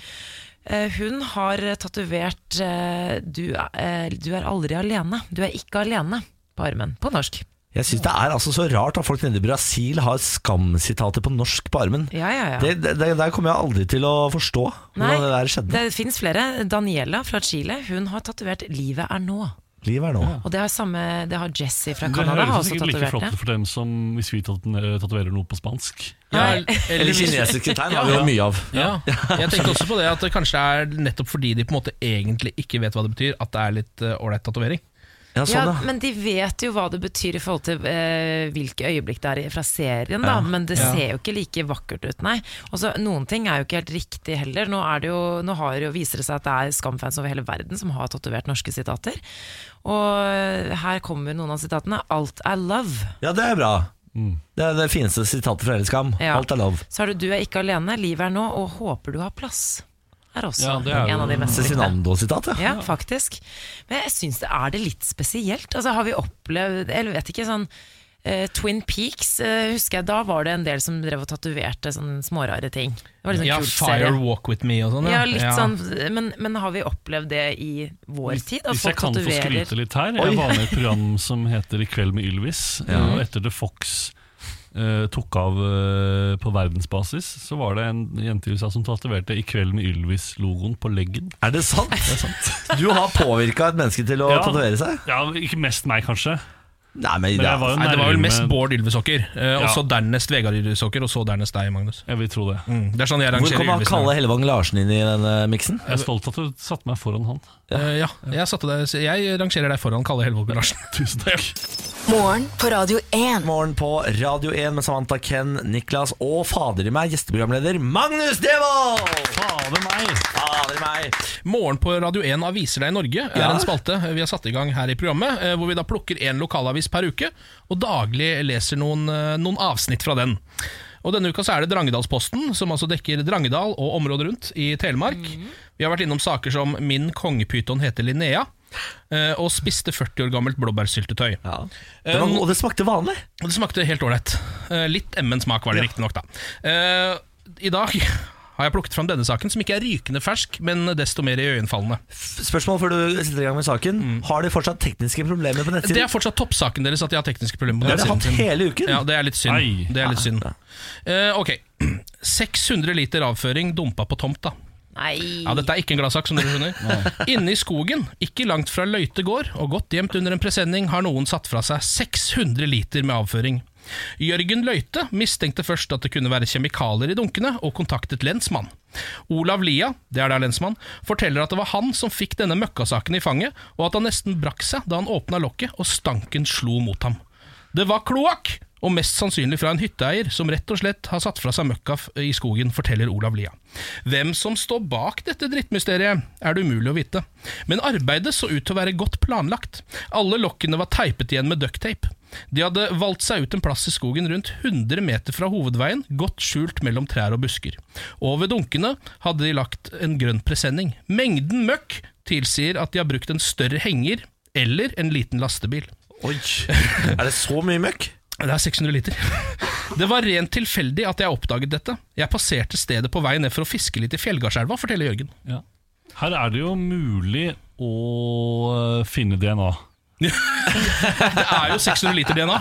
Speaker 3: Eh, hun har tatovert eh, du, eh, 'Du er aldri alene'. Du er ikke alene på armen. På norsk.
Speaker 1: Jeg syns det er altså så rart at folk nede i Brasil har skamsitater på norsk på armen.
Speaker 3: Ja, ja, ja.
Speaker 1: Det, det, det der kommer jeg aldri til å forstå hvordan
Speaker 3: Nei,
Speaker 1: det der skjedde.
Speaker 3: Det fins flere. Daniela fra Chile hun har tatovert 'Livet er nå'.
Speaker 1: Livet er nå.
Speaker 3: Og det har, samme, det har Jesse fra
Speaker 6: Det
Speaker 3: Canada har
Speaker 6: høres
Speaker 3: også
Speaker 6: sikkert like
Speaker 3: tatovert
Speaker 6: flott
Speaker 3: det.
Speaker 6: ut for dem som hvis vi tatoverer noe på spansk.
Speaker 2: Ja,
Speaker 3: Nei.
Speaker 1: Eller kinesiske tegn har vi jo mye av.
Speaker 2: Ja. Jeg tenkte også på det at det kanskje er nettopp fordi de på en måte egentlig ikke vet hva det betyr, at det er litt eh, ålreit tatovering.
Speaker 1: Ja, sånn,
Speaker 3: ja,
Speaker 1: ja.
Speaker 3: Men de vet jo hva det betyr i forhold til eh, hvilke øyeblikk det er fra serien, da. Men det ser jo ikke like vakkert ut, nei. Og så Noen ting er jo ikke helt riktig heller. Nå, er det jo, nå har det jo, viser det seg at det er Skam-fans over hele verden som har tatovert norske sitater. Og eh, her kommer noen av sitatene. Alt er love.
Speaker 1: ja, det er bra.
Speaker 2: Mm.
Speaker 1: Det er det fineste sitatet fra Hele Skam.
Speaker 3: Ja.
Speaker 1: Alt er love.
Speaker 3: Så har du 'Du er ikke alene', 'Livet er nå', og 'Håper du har plass'. Er også
Speaker 6: Ja, det er jo
Speaker 3: en av de mest brukte.
Speaker 1: Cezinando-sitat, ja.
Speaker 3: Ja, faktisk. Men jeg syns det er det litt spesielt. Altså, har vi opplevd Eller vet ikke, sånn eh, Twin Peaks, eh, husker jeg da var det en del som drev og tatoverte sånne smårare ting. Det var litt sånn
Speaker 2: Ja,
Speaker 3: kul
Speaker 2: Fire
Speaker 3: serie.
Speaker 2: Walk With Me og sånn.
Speaker 3: Ja, litt sånn, men, men har vi opplevd det i vår tid? At
Speaker 6: Hvis jeg
Speaker 3: folk
Speaker 6: kan få skryte
Speaker 3: tatoverer
Speaker 6: litt her
Speaker 1: Oi.
Speaker 6: Jeg var med i et program som heter I kveld med Ylvis.
Speaker 1: Ja.
Speaker 6: Og etter The Fox eh, tok av eh, på verdensbasis, så var det en jente i USA som tatoverte I kveld med Ylvis-logoen på leggen.
Speaker 1: Er det sant? Du har påvirka et menneske til å
Speaker 6: Ja.
Speaker 1: tatovere seg?
Speaker 6: Ja, Ikke mest meg, kanskje.
Speaker 1: Nei, men,
Speaker 6: Men
Speaker 1: det
Speaker 6: jeg var jo
Speaker 2: Nei, det var vel
Speaker 6: nærme-
Speaker 2: mest Bård Ylvesokker, eh, og
Speaker 6: Ja.
Speaker 2: så dernest Vegard Ylvesokker, og så dernest deg, Magnus.
Speaker 6: Jeg vil tro det.
Speaker 2: Mm. Det er sånn jeg
Speaker 1: Hvor
Speaker 2: rangerer
Speaker 1: kom han
Speaker 2: Ylvesen.
Speaker 1: Kalle Hellevang Larsen inn i denne miksen?
Speaker 6: Jeg er stolt av at du satte meg foran han.
Speaker 2: Eh, ja, jeg, satte deg, jeg rangerer deg foran Kalle Helvåg Larsen. Tusen takk.
Speaker 5: Morgen på Radio 1.
Speaker 1: Morgen på Radio 1 med Samantha Ken, Niklas og fader i meg gjesteprogramleder Magnus Devold!
Speaker 6: Fader meg!
Speaker 1: Fader i meg!
Speaker 2: Morgen på Radio 1 Aviser deg i Norge er
Speaker 1: Ja.
Speaker 2: en spalte vi har satt i gang her i programmet, eh, hvor vi da plukker én lokalavis per uke, og daglig leser noen, eh, noen avsnitt fra den. Og Denne uka så er det Drangedalsposten, som altså dekker Drangedal og området rundt i Telemark.
Speaker 1: Mhm.
Speaker 2: Vi har vært innom saker som 'Min kongepyton heter Linnea' eh, og 'Spiste 40 år gammelt blåbærsyltetøy'.
Speaker 1: Ja. Det var,
Speaker 2: Eh,
Speaker 1: og det smakte vanlig.
Speaker 2: Og Det smakte helt ålreit. Eh, Litt emmen-smak var det riktignok, da. Eh, I dag har jeg plukket fram denne saken, som ikke er rykende fersk, men desto mer iøynefallende.
Speaker 1: Spørsmål før du setter i gang med saken. Har de fortsatt tekniske problemer på
Speaker 2: Det er
Speaker 1: nettsiden?
Speaker 2: fortsatt toppsaken deres at de har tekniske problemer. på
Speaker 1: Det har de
Speaker 2: nettsiden
Speaker 1: hatt
Speaker 2: sin.
Speaker 1: hele uken.
Speaker 2: Ja, det er litt synd.
Speaker 6: Ai.
Speaker 2: Det er litt synd. Eh, ok. 600 liter avføring dumpa på tomta.
Speaker 3: Nei.
Speaker 2: Ja, Dette er ikke en gladsak, som dere skjønner. Inne i skogen, ikke langt fra Løite gård, og godt gjemt under en presenning, har noen satt fra seg 600 liter med avføring. Jørgen Løite mistenkte først at det kunne være kjemikalier i dunkene, og kontaktet lensmann. Olav Lia, det er der lensmann, forteller at det var han som fikk denne møkkasaken i fanget, og at han nesten brakk seg da han åpna lokket og stanken slo mot ham. Det var kloakk! og mest sannsynlig fra en hytteeier som rett og slett har satt fra seg møkka f- i skogen, forteller Olav Lia. Hvem som står bak dette drittmysteriet, er det umulig å vite, men arbeidet så ut til å være godt planlagt. Alle lokkene var teipet igjen med ducktape. De hadde valgt seg ut en plass i skogen rundt 100 meter fra hovedveien, godt skjult mellom trær og busker. Over dunkene hadde de lagt en grønn presenning. Mengden møkk tilsier at de har brukt en større henger eller en liten lastebil.
Speaker 1: Oi, er det så mye møkk?
Speaker 2: Det er 600 liter. Det var rent tilfeldig at jeg oppdaget dette. Jeg passerte stedet på vei ned for å fiske litt i Fjellgardselva, forteller Jørgen.
Speaker 6: Ja. Her er det jo mulig å eh, finne DNA.
Speaker 2: Det er jo 600 liter DNA.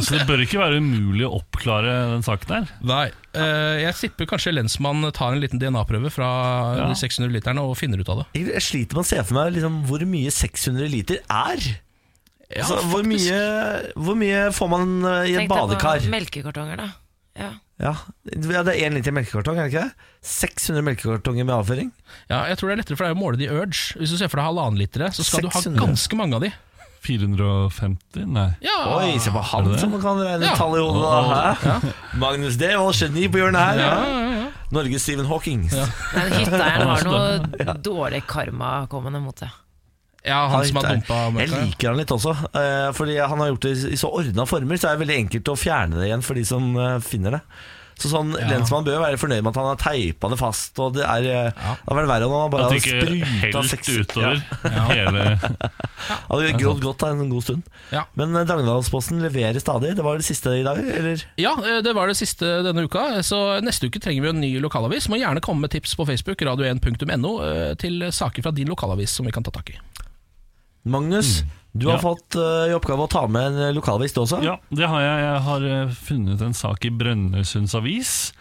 Speaker 6: Så det bør ikke være umulig å oppklare den saken her.
Speaker 2: Nei, eh, jeg tipper kanskje lensmannen tar en liten DNA-prøve fra
Speaker 6: Ja.
Speaker 2: de 600 literne og finner ut av det.
Speaker 1: Jeg sliter med å se for meg liksom, hvor mye 600 liter er. altså, hvor,
Speaker 2: faktisk.
Speaker 1: mye, hvor mye får man eh, i et
Speaker 3: Tenk deg på
Speaker 1: badekar?
Speaker 3: Melkekartonger, da. Ja.
Speaker 1: Ja. ja, Det er én liter melkekartong, er det ikke det? 600 melkekartonger med avføring.
Speaker 2: Ja, jeg tror det er lettere for deg å måle de urge. Hvis du ser for deg halvannen litere, så skal du
Speaker 1: 600.
Speaker 2: ha ganske mange av de.
Speaker 6: 450? Nei.
Speaker 2: Ja,
Speaker 1: Oi, se på han
Speaker 6: Er det det?
Speaker 1: som kan regne
Speaker 2: Ah. Ja.
Speaker 1: tall i hodet, da. Hæ? Magnus Devold, geni på hjørnet her.
Speaker 2: ja,
Speaker 1: Ja.
Speaker 2: ja, ja.
Speaker 1: Norges Stephen Hawking.
Speaker 3: Men hytteeieren har noe dårlig karma kommende mot seg.
Speaker 2: ja han som har
Speaker 1: Jeg
Speaker 2: dumpa møkka.
Speaker 1: Jeg liker han litt også, eh, fordi han har gjort det i så ordna former, så er det veldig enkelt å fjerne det igjen for de som eh, finner det. Så sånn,
Speaker 2: Ja.
Speaker 1: Lensmannen bør jo være fornøyd med at han har teipa det fast. Og det er, eh,
Speaker 2: Ja.
Speaker 1: det hadde vært verre om han bare
Speaker 6: At
Speaker 1: hadde
Speaker 6: det ikke
Speaker 1: spruta
Speaker 6: helt
Speaker 1: seks
Speaker 6: utover
Speaker 1: Ja,
Speaker 6: hele
Speaker 1: han hadde grått godt da, en sånn god stund.
Speaker 2: Ja.
Speaker 1: Men eh, Dragnedalsposten leverer stadig. Det var det siste i dag, eller?
Speaker 2: Ja, eh, det var det siste denne uka. Så neste uke trenger vi en ny lokalavis. Må gjerne komme med tips på Facebook, radio1.no, eh, til saker fra din lokalavis som vi kan ta tak i.
Speaker 1: Magnus, du har
Speaker 6: Mm. Ja.
Speaker 1: fått eh, i oppgave å ta med en lokalvis du også.
Speaker 6: Ja, det har jeg. Jeg har eh, funnet en sak i Brønnøysunds avis.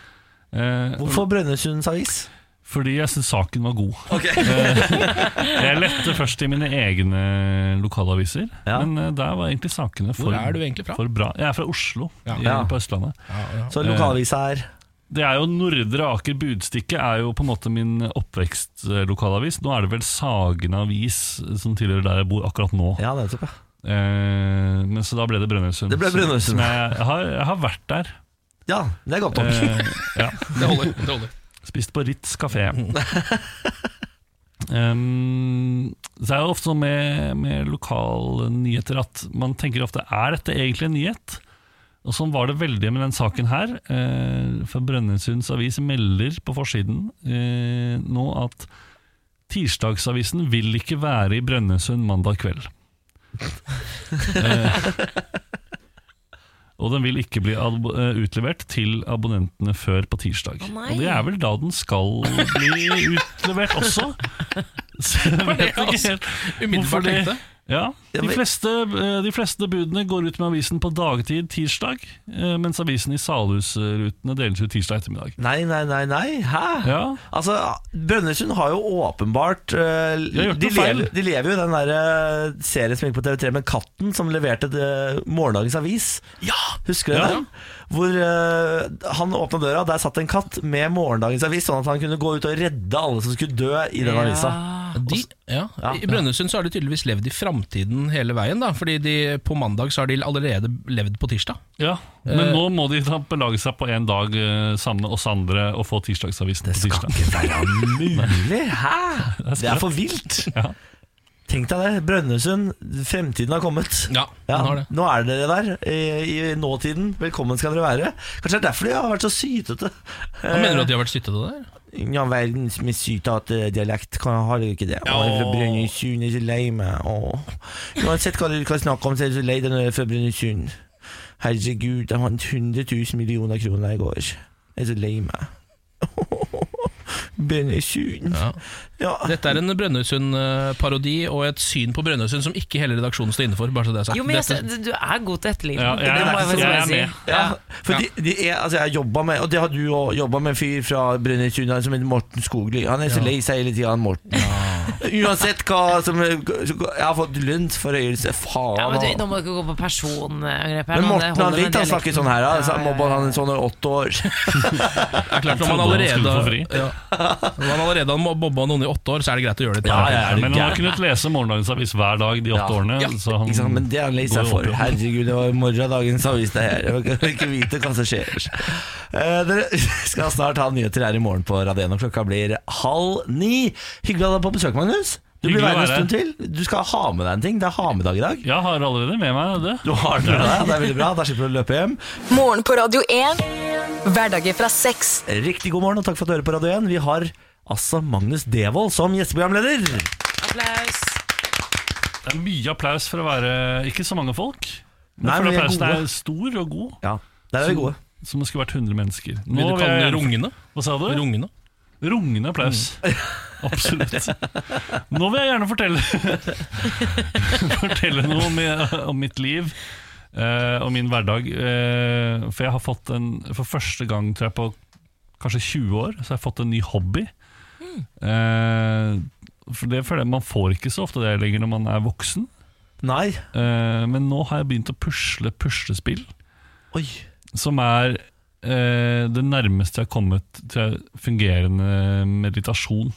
Speaker 6: Eh,
Speaker 1: Hvorfor Brønnøysunds avis?
Speaker 6: Fordi jeg syns saken var god. Eh, jeg lette først i mine egne lokalaviser,
Speaker 1: Ja.
Speaker 6: men eh, der var egentlig sakene for,
Speaker 2: Hvor er du egentlig fra?
Speaker 6: for bra. Jeg er fra Oslo,
Speaker 2: Ja.
Speaker 6: i-
Speaker 1: Ja.
Speaker 6: på Østlandet. eh,
Speaker 1: Så lokalavisa er
Speaker 6: Det er jo Nordre Aker Budstikke er jo på en måte min oppvekstlokalavis. Nå er det vel Sagen avis som tilhører der jeg bor akkurat nå.
Speaker 1: Ja, nettopp. ja.
Speaker 6: Eh, men Så da ble det Brønnøysund.
Speaker 1: Det ble Brønnøysund.
Speaker 6: Som Jeg, jeg, har, jeg har vært der.
Speaker 1: Ja, det er godt nok.
Speaker 6: Eh, ja.
Speaker 2: Det holder. det holder
Speaker 6: Spist på Ritz kafé. Um, så er det ofte sånn med, med lokale nyheter at man tenker ofte er dette egentlig en nyhet? Og Sånn var det veldig med den saken her. Eh, for Brønnøysunds avis melder på forsiden eh, nå at tirsdagsavisen vil ikke være i Brønnøysund mandag kveld. eh, og den vil ikke bli ab eh, utlevert til abonnentene før på tirsdag.
Speaker 3: Å, nei.
Speaker 6: og det er vel da den skal bli utlevert også. Så jeg vet ikke
Speaker 2: altså.
Speaker 6: helt Hvorfor
Speaker 2: Umiddelbart
Speaker 6: det?
Speaker 2: tenkte
Speaker 6: ja,
Speaker 1: Ja,
Speaker 6: de
Speaker 1: men-
Speaker 6: fleste, eh, de fleste budene går ut med avisen på dagtid tirsdag, eh, mens avisen i Salhusrutene deles ut tirsdag ettermiddag.
Speaker 1: Nei, nei, nei, nei, hæ?
Speaker 6: Ja,
Speaker 1: Altså, Brønnøysund har jo åpenbart eh,
Speaker 6: De har gjort
Speaker 1: de,
Speaker 6: noe feil.
Speaker 1: lever, de lever jo i den der eh, serien som gikk på TV3 med Katten, som leverte eh, morgendagens avis.
Speaker 2: Ja!
Speaker 1: Husker du
Speaker 6: Ja.
Speaker 1: den? Hvor eh, han åpna døra, der satt en katt med morgendagens avis, sånn at han kunne gå ut og redde alle som skulle dø i den avisa.
Speaker 2: De, ja.
Speaker 1: Ja.
Speaker 2: I Brønnøysund så har de tydeligvis levd i framtiden hele veien. da Fordi de, på mandag så har de allerede levd på tirsdag.
Speaker 6: ja.
Speaker 1: Eh.
Speaker 6: Men nå må de da belage seg på en dag eh, sammen med oss andre og få tirsdagsavisen på
Speaker 1: Det skal
Speaker 6: tirsdag.
Speaker 1: ikke være mulig! Hæ? Det er for vilt!
Speaker 6: Ja.
Speaker 1: Tenk deg det. Brønnøysund, fremtiden har kommet.
Speaker 2: Ja,
Speaker 1: Ja,
Speaker 2: den har det.
Speaker 1: nå er dere der, i, i nåtiden. Velkommen skal dere være. Kanskje det er derfor de har vært så sytete.
Speaker 2: Hva mener du at de har vært syttete der?
Speaker 1: Ja, verdens mest sytete dialekt. Kan, har dere ikke det? Å, jeg er fra Brønnøysund, jeg er så lei meg. Å. Uansett hva dere kan snakke om, så er jeg så lei deg når jeg er fra Brønnøysund. Herregud, jeg vant 100 000 millioner kroner i går. Jeg er så lei meg. Brønnøysund.
Speaker 2: Ja.
Speaker 1: Ja.
Speaker 2: Dette er en Brønnøysund-parodi og et syn på Brønnøysund som ikke hele redaksjonen står inne for. Bare så det er sagt.
Speaker 3: Jo, men altså, jeg,
Speaker 2: Dette-
Speaker 3: sy- du er god til etterligning.
Speaker 6: Ja, jeg,
Speaker 3: det må
Speaker 6: er-
Speaker 3: jeg,
Speaker 6: jeg
Speaker 3: jeg,
Speaker 6: er med.
Speaker 1: Ja, for De, de er, altså jeg har jobbet med Og det har du òg jobba med en fyr fra Brønnøysund han som heter Morten Skogli. Han er så lei seg hele tida, han Morten. Uansett hva som Jeg har fått lunt forhøyelse, faen.
Speaker 3: Ja, men du, nå
Speaker 1: altså.
Speaker 3: må du ikke gå på personangrep her.
Speaker 1: men
Speaker 3: nå, det
Speaker 1: Morten
Speaker 3: holder med
Speaker 1: Hanvik han
Speaker 3: dialekten.
Speaker 1: snakker sånn her, da.
Speaker 3: Ja,
Speaker 1: så
Speaker 3: ja,
Speaker 1: må
Speaker 3: ja.
Speaker 1: han en sånn i åtte år.
Speaker 2: Det er klart, Når man
Speaker 6: trodde han
Speaker 2: allerede,
Speaker 6: skulle få fri.
Speaker 2: ja, når man allerede har mobba noen i åtte år, så er det greit å gjøre det.
Speaker 1: Ja, ja, er du
Speaker 6: Men han har
Speaker 1: gæren?
Speaker 6: kunnet lese morgendagens avis hver dag de åtte
Speaker 1: Ja.
Speaker 6: årene.
Speaker 2: Ja.
Speaker 6: Så han
Speaker 1: Ikke sant? Men det har han lest
Speaker 6: går
Speaker 1: seg
Speaker 6: jo
Speaker 1: for.
Speaker 6: opp i opp.
Speaker 1: Herregud, det var i morgen dagens avis det her. Jeg kan ikke vite hva som skjer. Eh, dere skal snart ha nyheter her i morgen på Radio 1, og klokka blir halv ni. Hyggelig å ha deg på besøk, Magnus. Du blir
Speaker 6: Hyggelig å
Speaker 1: værende en
Speaker 6: være
Speaker 1: stund til. Du skal ha med deg en ting. Det er ha med dag i dag.
Speaker 6: Jeg har allerede med meg det.
Speaker 1: Du har det med deg, det er veldig bra. Da slipper du å løpe hjem.
Speaker 5: Morgen på Radio 1. Hverdager fra seks.
Speaker 1: Riktig god morgen, og takk for at du hører på Radio 1. Vi har altså Magnus Devold som gjesteprogramleder.
Speaker 3: Applaus.
Speaker 6: Det er mye applaus for å være ikke så mange folk. Men
Speaker 1: Nei,
Speaker 6: for
Speaker 1: men vi er
Speaker 6: applausen
Speaker 1: gode.
Speaker 6: er stor og god,
Speaker 1: Ja, der er vi gode.
Speaker 6: som det skulle vært 100 mennesker.
Speaker 2: Vil du
Speaker 6: vil
Speaker 2: kalle
Speaker 6: jeg
Speaker 2: det
Speaker 6: gjerne-
Speaker 2: rungende?
Speaker 6: Hva sa du?
Speaker 2: Rungende?
Speaker 6: Rungende applaus. Absolutt. Nå vil jeg gjerne fortelle Fortelle noe om, om mitt liv eh, og min hverdag. Eh, for jeg har fått en For første gang tror jeg på kanskje 20 år Så har jeg fått en ny hobby. Eh, for det føler jeg Man får ikke så ofte det lenger når man er voksen.
Speaker 1: Nei.
Speaker 6: Eh, men nå har jeg begynt å pusle puslespill,
Speaker 1: Oi.
Speaker 6: som er eh, det nærmeste jeg har kommet til fungerende meditasjon.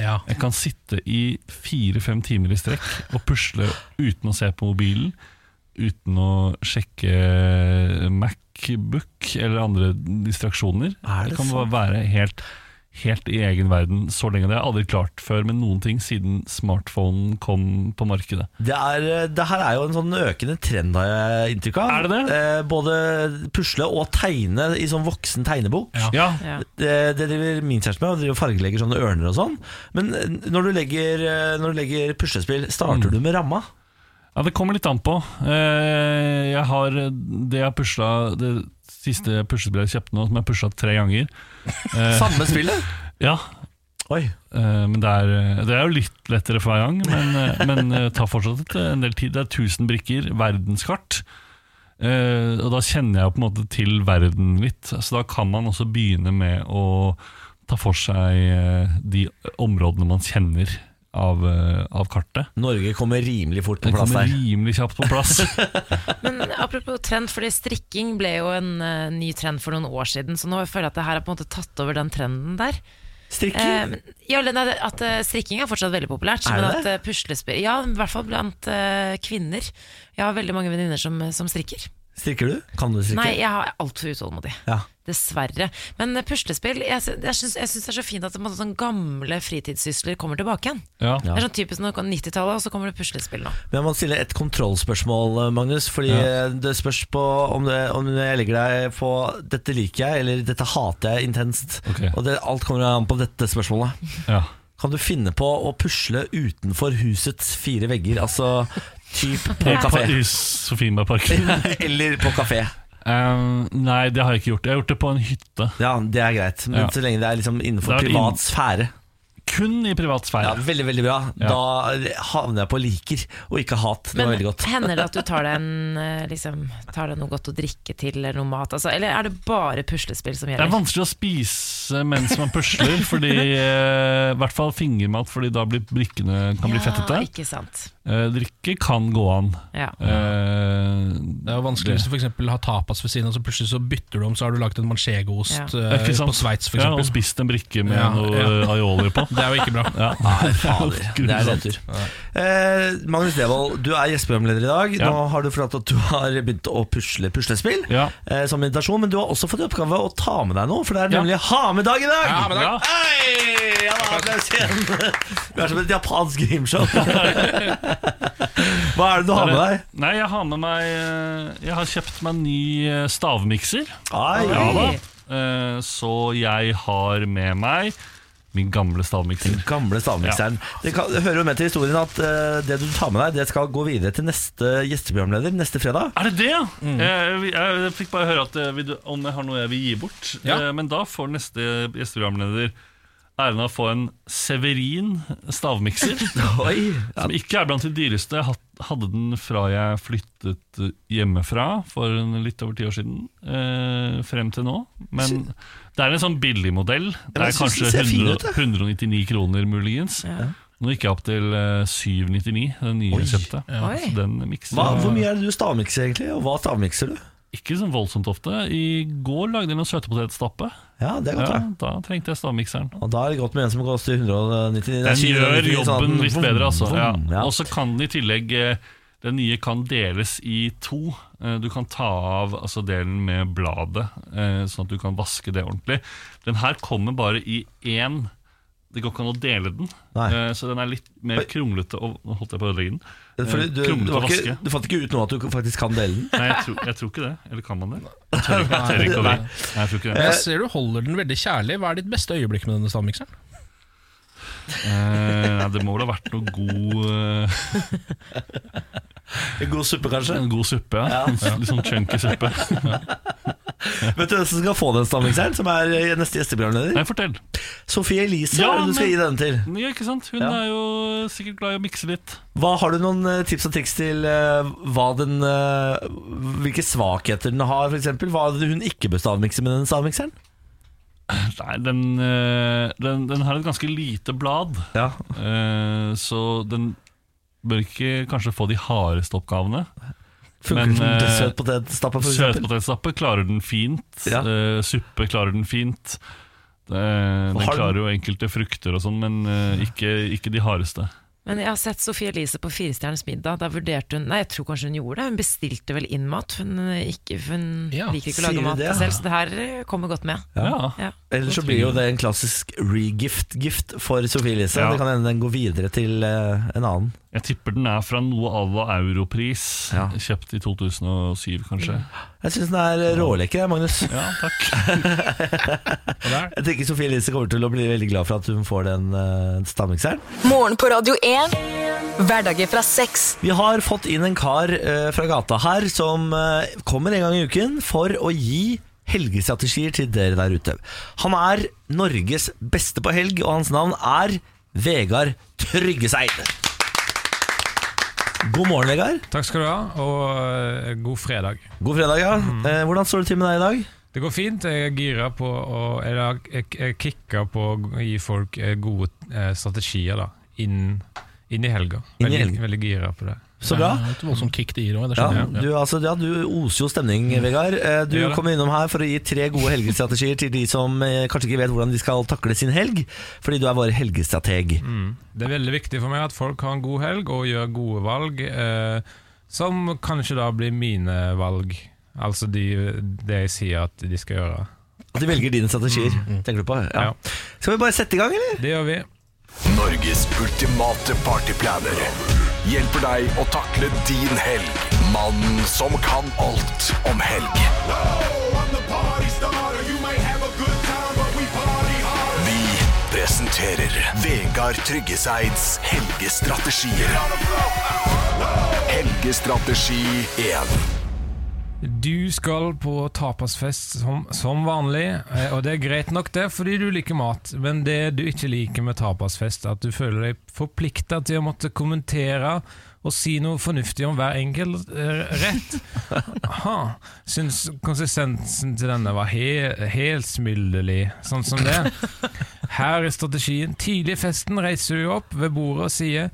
Speaker 2: Ja.
Speaker 6: Jeg kan sitte i fire-fem timer i strekk og pusle uten å se på mobilen, uten å sjekke Macbook eller andre distraksjoner.
Speaker 1: Er det
Speaker 6: Jeg kan
Speaker 1: sant?
Speaker 6: bare være helt, helt i egen verden så lenge. Det har jeg aldri klart før med noen ting siden smartphonen kom på markedet.
Speaker 1: Det, er, eh, det her er jo en sånn økende trend, har jeg inntrykk av.
Speaker 6: Er det det?
Speaker 1: Eh, både pusle og tegne i sånn voksen tegnebok.
Speaker 2: Ja.
Speaker 6: Ja,
Speaker 3: Ja.
Speaker 1: Det, det driver min kjæreste med, og driver og fargelegger sånne ørner og sånn. Men eh, når du legger, eh, når du legger puslespill,
Speaker 6: Mm.
Speaker 1: starter du med ramma?
Speaker 6: Ja, Det kommer litt an på. Eh, Jeg har det jeg har pusla Det siste puslespillet jeg kjøpte nå, som jeg pusla tre ganger. Eh,
Speaker 1: Samme spillet?
Speaker 6: ja,
Speaker 1: Oi.
Speaker 6: eh, men det er, det er jo litt lettere for hver gang, men, eh, men eh, tar fortsatt et, en del tid. Det er 1000 brikker, verdenskart. Eh, og da kjenner jeg på en måte til verden litt, så da kan man også begynne med å ta for seg eh, de områdene man kjenner av, eh, av kartet.
Speaker 1: Norge kommer rimelig fort
Speaker 6: Det
Speaker 1: på plass
Speaker 6: kommer
Speaker 1: her.
Speaker 6: rimelig kjapt på plass.
Speaker 3: Men apropos trend, fordi strikking ble jo en eh, ny trend for noen år siden, så nå føler jeg at det her har på en måte tatt over den trenden der. Eh,
Speaker 1: Strikking?
Speaker 3: men- ja, eller nei, det- at eh, strikking er fortsatt veldig populært,
Speaker 1: Er det
Speaker 3: men at
Speaker 1: det?
Speaker 3: eh, puslespill Ja, i hvert fall blant eh, kvinner. Jeg har veldig mange venninner som, eh, som strikker.
Speaker 1: Strikker du? Kan du strikke?
Speaker 3: Nei, jeg er altfor utålmodig.
Speaker 1: Ja.
Speaker 3: Dessverre. Men eh, puslespill Jeg, sy- jeg syns jeg syns det er så fint at på en måte sånn gamle fritidssysler kommer tilbake igjen.
Speaker 6: Ja.
Speaker 1: Ja.
Speaker 3: Det er sånn typisk når det kom 90-tallet, og så kommer det puslespill nå.
Speaker 1: Men jeg må stille et kontrollspørsmål, eh, Magnus. Fordi det spørs på om, det, om jeg legger deg på 'dette liker jeg', eller 'dette hater jeg intenst'.
Speaker 6: Ok.
Speaker 1: Og det, alt kommer an på dette spørsmålet.
Speaker 6: Ja.
Speaker 1: Kan du finne på å pusle utenfor husets fire vegger? Altså typ på kafé.
Speaker 6: I Sofienbergparken.
Speaker 1: eller på kafé.
Speaker 6: Eh, nei, det har jeg ikke gjort. Jeg har gjort det på en hytte.
Speaker 1: Ja, det er greit. Men
Speaker 6: Ja.
Speaker 1: så lenge det er liksom innenfor
Speaker 6: Da er det
Speaker 1: privat
Speaker 6: inn-
Speaker 1: sfære.
Speaker 6: Kun i privat
Speaker 1: Ja,
Speaker 6: sfære.
Speaker 1: Veldig, veldig bra.
Speaker 6: Ja.
Speaker 1: Da havner jeg på liker, og ikke hat. Det var
Speaker 3: Men
Speaker 1: veldig godt.
Speaker 3: hender det at du tar deg, en, eh, liksom, tar deg noe godt å drikke til, eller noe mat? Altså, eller er det bare puslespill som
Speaker 6: Det er
Speaker 3: gjelder?
Speaker 6: vanskelig å spise mens man pusler, fordi, eh, i hvert fall fingermat, fordi da blir brikkene kan bli fettete.
Speaker 3: Ja, ikke sant.
Speaker 6: Eh, drikke kan gå an.
Speaker 3: Ja.
Speaker 6: Eh,
Speaker 2: Det er jo vanskelig hvis du for eksempel har tapas ved siden av, så plutselig så bytter du om, så har du lagt en manchegoost
Speaker 3: Ja.
Speaker 2: eh,
Speaker 6: ikke sant?
Speaker 2: på Sveits,
Speaker 6: ja, og
Speaker 2: f.eks.
Speaker 6: spist en brikke med
Speaker 2: Ja,
Speaker 6: noe
Speaker 2: ja.
Speaker 6: eh, aioli på.
Speaker 2: Det er jo ikke bra.
Speaker 6: Ja.
Speaker 1: Nei, fader. Det er nedtur.
Speaker 2: Nei.
Speaker 1: Eh, Magnus Devold, du er gjesteprogramleder i dag.
Speaker 6: Ja.
Speaker 1: Nå har du fortalt at du har begynt å pusle puslespill
Speaker 6: Ja.
Speaker 1: eh, som meditasjon, men du har også fått i oppgave å ta med deg noe, for det er
Speaker 6: Ja.
Speaker 1: nemlig ha med-dag i dag!
Speaker 2: Ja, men da-
Speaker 6: Ja.
Speaker 1: Hei! Ja, da, applaus igjen. Du er som et japansk grimshow. Hva er det du har med deg?
Speaker 6: Nei, jeg har med meg eh, Jeg har kjøpt meg en ny eh, stavmikser.
Speaker 1: Ai,
Speaker 6: Ja da.
Speaker 3: Oi.
Speaker 6: Eh, Så jeg har med meg min gamle stavmikser.
Speaker 1: Den gamle stavmikseren. Det, kan, det hører jo med til historien at eh, det du tar med deg, det skal gå videre til neste gjesteprogramleder neste fredag.
Speaker 6: Er det det? ja?
Speaker 1: Mm.
Speaker 6: Jeg, jeg, jeg fikk bare høre at eh, vil du, om jeg har noe jeg vil gi bort.
Speaker 2: Ja.
Speaker 6: Eh, Men da får neste gjesteprogramleder æren av å få en Severin stavmikser.
Speaker 1: Oi, ja,
Speaker 6: Som ikke er blant de dyreste. Jeg had- hadde den fra jeg flyttet eh, hjemmefra for en- litt over ti år siden. eh, frem til nå. Men det er en sånn billig modell. Det
Speaker 1: men
Speaker 6: er
Speaker 1: jeg synes den
Speaker 6: kanskje
Speaker 1: ser fin
Speaker 6: 100,
Speaker 1: ut, jeg.
Speaker 6: 199 kroner, muligens.
Speaker 3: Ja.
Speaker 6: Nå gikk jeg opp til eh, 799, den nye
Speaker 1: Oi.
Speaker 6: resepta.
Speaker 2: Ja.
Speaker 3: Oi.
Speaker 6: Så den mikser
Speaker 1: Hva,
Speaker 6: jeg-
Speaker 1: hvor mye er det du stavmikser egentlig, og hva stavmikser du?
Speaker 6: Ikke sånn voldsomt ofte. I går lagde jeg noen søtepotetstappe.
Speaker 1: Ja, det er godt,
Speaker 6: Ja,
Speaker 1: da.
Speaker 6: da trengte jeg stavmikseren.
Speaker 1: Og da er det godt med en som koster 199 nei,
Speaker 6: Den gjør
Speaker 1: 799,
Speaker 6: jobben
Speaker 1: sånn,
Speaker 6: litt bedre, altså.
Speaker 1: vroom,
Speaker 6: Ja.
Speaker 1: ja.
Speaker 6: Og så kan den i tillegg eh, Den nye kan deles i to. Eh, Du kan ta av altså, delen med bladet, eh, sånn at du kan vaske det ordentlig. Den her kommer bare i én. Det går ikke an å dele den,
Speaker 1: Nei.
Speaker 6: Eh, så den er litt mer
Speaker 1: Oi.
Speaker 6: kronglete. Og, nå holdt jeg på å ødelegge den.
Speaker 1: Fordi du,
Speaker 6: Krumme
Speaker 1: du,
Speaker 6: til å
Speaker 1: var ikke,
Speaker 6: vaske.
Speaker 1: du fant ikke ut nå at du faktisk kan dele den?
Speaker 6: Nei, jeg tror, jeg tror ikke det. Eller kan man det? Jeg tør ikke, jeg tør ikke å
Speaker 1: Nei.
Speaker 6: Nei, jeg tror ikke det.
Speaker 2: Jeg ser du holder den veldig kjærlig. Hva er ditt beste øyeblikk med denne stavmikseren?
Speaker 6: Eh, Nei, det må vel ha vært noe god eh,
Speaker 1: En god suppe, kanskje?
Speaker 6: En god suppe, ja. Litt sånn chunky suppe.
Speaker 1: Vet du hvem som skal få den stammingseieren, som er eh, neste gjesteprogramleder?
Speaker 6: Nei, fortell.
Speaker 1: Sofie Elise
Speaker 6: Ja,
Speaker 1: er det du skal
Speaker 6: men-
Speaker 1: gi denne til.
Speaker 6: Ja, ikke sant? Hun
Speaker 1: Ja.
Speaker 6: er jo sikkert glad i å mikse litt.
Speaker 1: Hva Har du noen eh, tips og triks til eh, hva den, eh, hvilke svakheter den har, f.eks.? Hva er det hun ikke bør stavmikse med den stavmikseren?
Speaker 6: Nei, den, eh, den, den har et ganske lite blad,
Speaker 1: Ja.
Speaker 6: eh, så den bør ikke kanskje få de hardeste oppgavene.
Speaker 1: Funker
Speaker 6: Men,
Speaker 1: den som
Speaker 6: eh,
Speaker 1: søt potetstappe, f.eks.?
Speaker 6: Søtpotetstappe klarer den fint,
Speaker 1: Ja.
Speaker 6: eh, suppe klarer den fint. Eh,
Speaker 1: Har
Speaker 6: den
Speaker 1: den-
Speaker 6: klarer jo enkelte frukter og sånn, men eh, ikke, ikke de hardeste.
Speaker 3: Men jeg har sett Sophie Elise på Firestjerners middag. Da vurderte hun Nei, jeg tror kanskje hun gjorde det. Hun bestilte vel inn mat. Hun, eh, ikke, hun
Speaker 2: Ja,
Speaker 3: liker ikke å
Speaker 1: sier
Speaker 3: lage
Speaker 1: du
Speaker 3: mat
Speaker 1: det?
Speaker 3: selv, så det her eh, kommer godt med.
Speaker 6: Ja,
Speaker 3: Ja.
Speaker 1: Ellers så blir jo det en klassisk regift-gift for Sofie Elise.
Speaker 6: Ja.
Speaker 1: Det kan hende den går videre til eh, en annen.
Speaker 6: Jeg tipper den er fra noe à la europris,
Speaker 1: Ja.
Speaker 6: kjøpt i 2007 kanskje.
Speaker 1: Jeg syns den er eh, rålekker, jeg, Magnus.
Speaker 6: Ja, takk.
Speaker 2: Og det er-
Speaker 1: Jeg tenker Sofie Elise kommer til å bli veldig glad for at hun får den uh, stammingseieren.
Speaker 5: Morgen på Radio 1. Hverdager fra seks.
Speaker 1: Vi har fått inn en kar eh, fra gata her som eh, kommer en gang i uken for å gi helgestrategier til dere der ute. Han er Norges beste på helg, og hans navn er Vegard Tryggeseid. God morgen, Vegard.
Speaker 7: Takk skal du ha, og eh, god fredag.
Speaker 1: God fredag, ja.
Speaker 7: Mm.
Speaker 1: Eh, hvordan står det til med deg i dag?
Speaker 7: Det går fint. Jeg er gira på å Eller jeg, jeg kicker på å gi folk eh, gode eh, strategier da, inn, inn i helga.
Speaker 1: Inn i
Speaker 7: Veldig,
Speaker 1: helga.
Speaker 7: veldig gira på det.
Speaker 1: Så bra.
Speaker 2: Det er et voldsomt kick det gir òg.
Speaker 1: Ja,
Speaker 2: Ja.
Speaker 1: du, altså, ja, du oser jo stemning, Vegard. Eh, Du
Speaker 7: Jeg gjør Mm. det.
Speaker 1: kommer innom her for å gi tre gode helgestrategier til de som eh, kanskje ikke vet hvordan de skal takle sin helg, fordi du er vår helgestrateg.
Speaker 7: Mm. Det er veldig viktig for meg at folk har en god helg og gjør gode valg, eh, som kanskje da blir mine valg. Altså de, det jeg sier at de skal gjøre.
Speaker 1: At de velger dine strategier,
Speaker 2: Mm,
Speaker 1: tenker du på? Ja.
Speaker 7: Ja.
Speaker 1: Skal vi bare sette i gang, eller?
Speaker 7: Det gjør vi.
Speaker 8: Norges ultimate partyplaner hjelper deg å takle din helg. Mannen som kan alt om helg. Vi presenterer Vegard Tryggeseids helgestrategier. Helgestrategi 1.
Speaker 7: Du skal på tapasfest som, som vanlig, eh, og det er greit nok det, fordi du liker mat. Men det du ikke liker med tapasfest, er at du føler deg forplikta til å måtte kommentere og si noe fornuftig om hver enkelt eh, rett. Aha. Syns konsistensen til denne var he helt smilderlig, sånn som det. Her er strategien. Tidlig i festen reiser du opp ved bordet og sier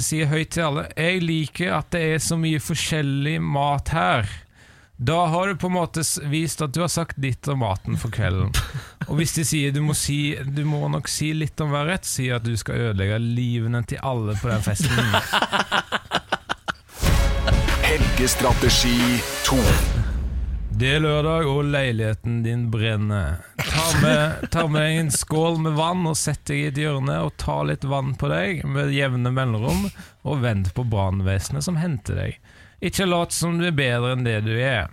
Speaker 7: Sier høyt til alle Jeg liker at det er så mye forskjellig mat her. Da har du på en måte s- vist at du har sagt ditt om maten for kvelden. Og hvis de sier du må, si, du må nok si litt om hver rett, sier at du skal ødelegge livene til alle på den festen.
Speaker 8: Helgestrategi 2.
Speaker 7: Det er lørdag, og leiligheten din brenner. Ta med, ta med deg en skål med vann og sett deg i et hjørne og ta litt vann på deg med jevne mellomrom, og vent på brannvesenet som henter deg. Ikke lat som du er bedre enn det du er.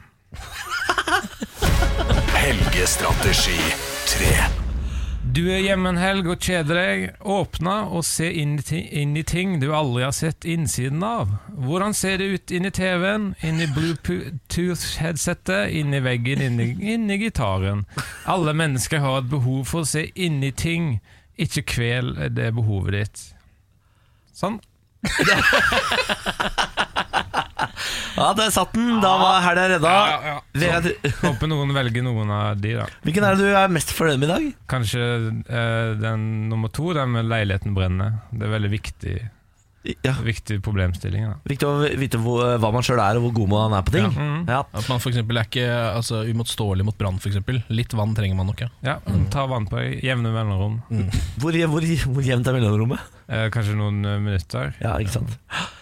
Speaker 8: Helgestrategi 3.
Speaker 7: Du er hjemme en helg og kjeder deg. Åpne og se inn i, ti- inn i ting du aldri har sett innsiden av. Hvordan ser det ut inni TV-en, inni Bluetooth-headsetet, inni veggen, inni, inni gitaren? Alle mennesker har et behov for å se inni ting. Ikke kvel det behovet ditt. Sånn.
Speaker 1: Ja, der satt den! Da var helga redda.
Speaker 2: Ja, Sånn. ja, ja.
Speaker 1: Vegard,
Speaker 7: Håper noen velger noen av de, da.
Speaker 1: Hvilken er det du er mest fornøyd med i dag?
Speaker 7: Kanskje eh, den nummer to, den med leiligheten brenner. Det er veldig viktig,
Speaker 1: Ja,
Speaker 7: viktig problemstilling. Da.
Speaker 1: Viktig å vite hvor, eh, hva man sjøl er, og hvor god man er på ting. Ja.
Speaker 2: At man for eksempel er ikke altså, uimotståelig mot brann, f.eks. Litt vann trenger man nok. Ja.
Speaker 7: Ja, Ta vann på deg. Jevne mellomrom.
Speaker 1: Hvor, hvor, hvor jevnt er mellomrommet?
Speaker 7: Eh, kanskje noen eh, minutter.
Speaker 1: Ja, ikke sant?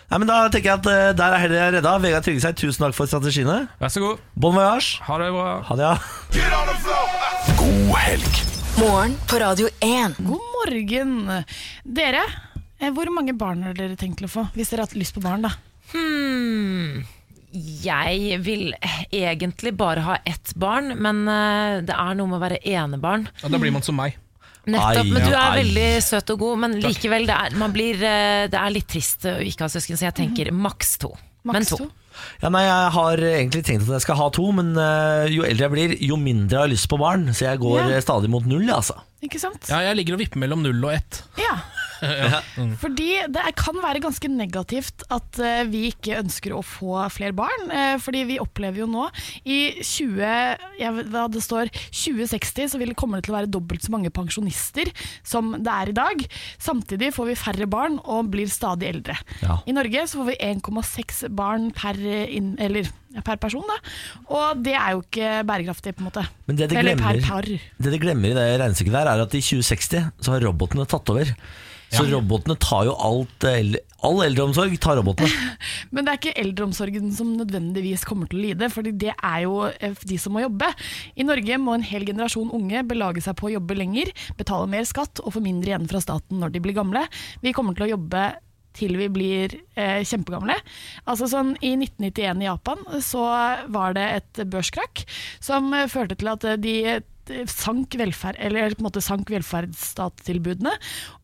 Speaker 1: Nei, men Da tenker jeg at eh, der er helga redda. Vegard Tryggeseid, tusen takk for strategiene.
Speaker 7: Vær så god.
Speaker 1: Bon voyage!
Speaker 7: Ha det bra.
Speaker 1: Ha det, ja.
Speaker 8: God helg.
Speaker 5: Morgen på Radio 1.
Speaker 4: God morgen. Dere, eh, hvor mange barn har dere tenkt til å få? Hvis dere har hatt lyst på barn, da.
Speaker 3: Hmm. Jeg vil e-, egentlig bare ha ett barn, men eh, det er noe med å være enebarn.
Speaker 2: Ja, da blir man som meg.
Speaker 1: Ai,
Speaker 3: Nettopp, men du
Speaker 1: ja,
Speaker 3: er
Speaker 1: ai.
Speaker 3: veldig søt og god, men likevel, det er, man blir, eh, det er litt trist å ikke ha søsken, så jeg tenker maks to. men
Speaker 4: Mhm. Maks
Speaker 3: to.
Speaker 4: to.
Speaker 1: Ja, nei, Jeg har egentlig tenkt at jeg skal ha to, men eh, jo eldre jeg blir, jo mindre har jeg lyst på barn. Så jeg går
Speaker 4: Ja.
Speaker 1: eh, stadig mot null. altså
Speaker 4: Ikke sant?
Speaker 2: Ja, jeg ligger og vipper mellom null og ett.
Speaker 4: Ja.
Speaker 1: Mm.
Speaker 4: Fordi det er- kan være ganske negativt at eh, vi ikke ønsker å få flere barn. eh, fordi vi opplever jo nå i 20, jeg vet hva det står, 2060 så vil, kommer det til å være dobbelt så mange pensjonister som det er i dag. Samtidig får vi færre barn og blir stadig eldre.
Speaker 1: Ja.
Speaker 4: I Norge så får vi 1,6 barn per, eh, inn, eller, ja, per person, da. og det er jo ikke bærekraftig, på en måte.
Speaker 1: Men det de
Speaker 4: eller per
Speaker 1: glemmer-
Speaker 4: par.
Speaker 1: Det de glemmer i det regnestykket der, er at i 2060 så har robotene tatt over. Så robotene tar jo alt eh, eld- All eldreomsorg tar robotene.
Speaker 4: Men det er ikke eldreomsorgen som nødvendigvis kommer til å lide, fordi det er jo eh, de som må jobbe. I Norge må en hel generasjon unge belage seg på å jobbe lenger, betale mer skatt og få mindre igjen fra staten når de blir gamle. Vi kommer til å jobbe til vi blir eh, kjempegamle. Altså sånn, I 1991 i Japan så var det et børskrakk som eh, førte til at eh, de sank, velferd, eller på en måte sank velferdsstatstilbudene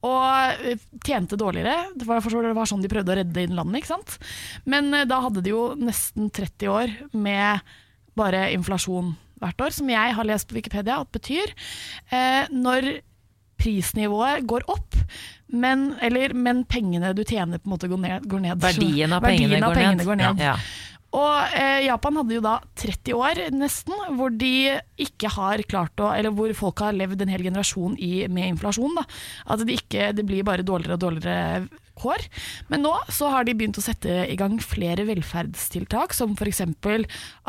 Speaker 4: og eh, tjente dårligere. Det var, jeg forstår det var sånn de prøvde å redde Innlandet. ikke sant? Men eh, da hadde de jo nesten 30 år med bare inflasjon hvert år, som jeg har lest på Wikipedia at betyr eh, når prisnivået går opp, men, eller, men pengene du tjener på en måte går ned. Går ned.
Speaker 3: Verdien av
Speaker 4: Verdien
Speaker 3: pengene,
Speaker 4: av
Speaker 3: går,
Speaker 4: pengene
Speaker 3: ned.
Speaker 4: går ned.
Speaker 3: Ja.
Speaker 4: Og eh, Japan hadde jo da 30 år nesten, hvor de ikke har klart å Eller hvor folk har levd en hel generasjon i, med inflasjon. da. At det ikke det blir bare dårligere og dårligere kår. Men nå så har de begynt å sette i gang flere velferdstiltak, som f.eks.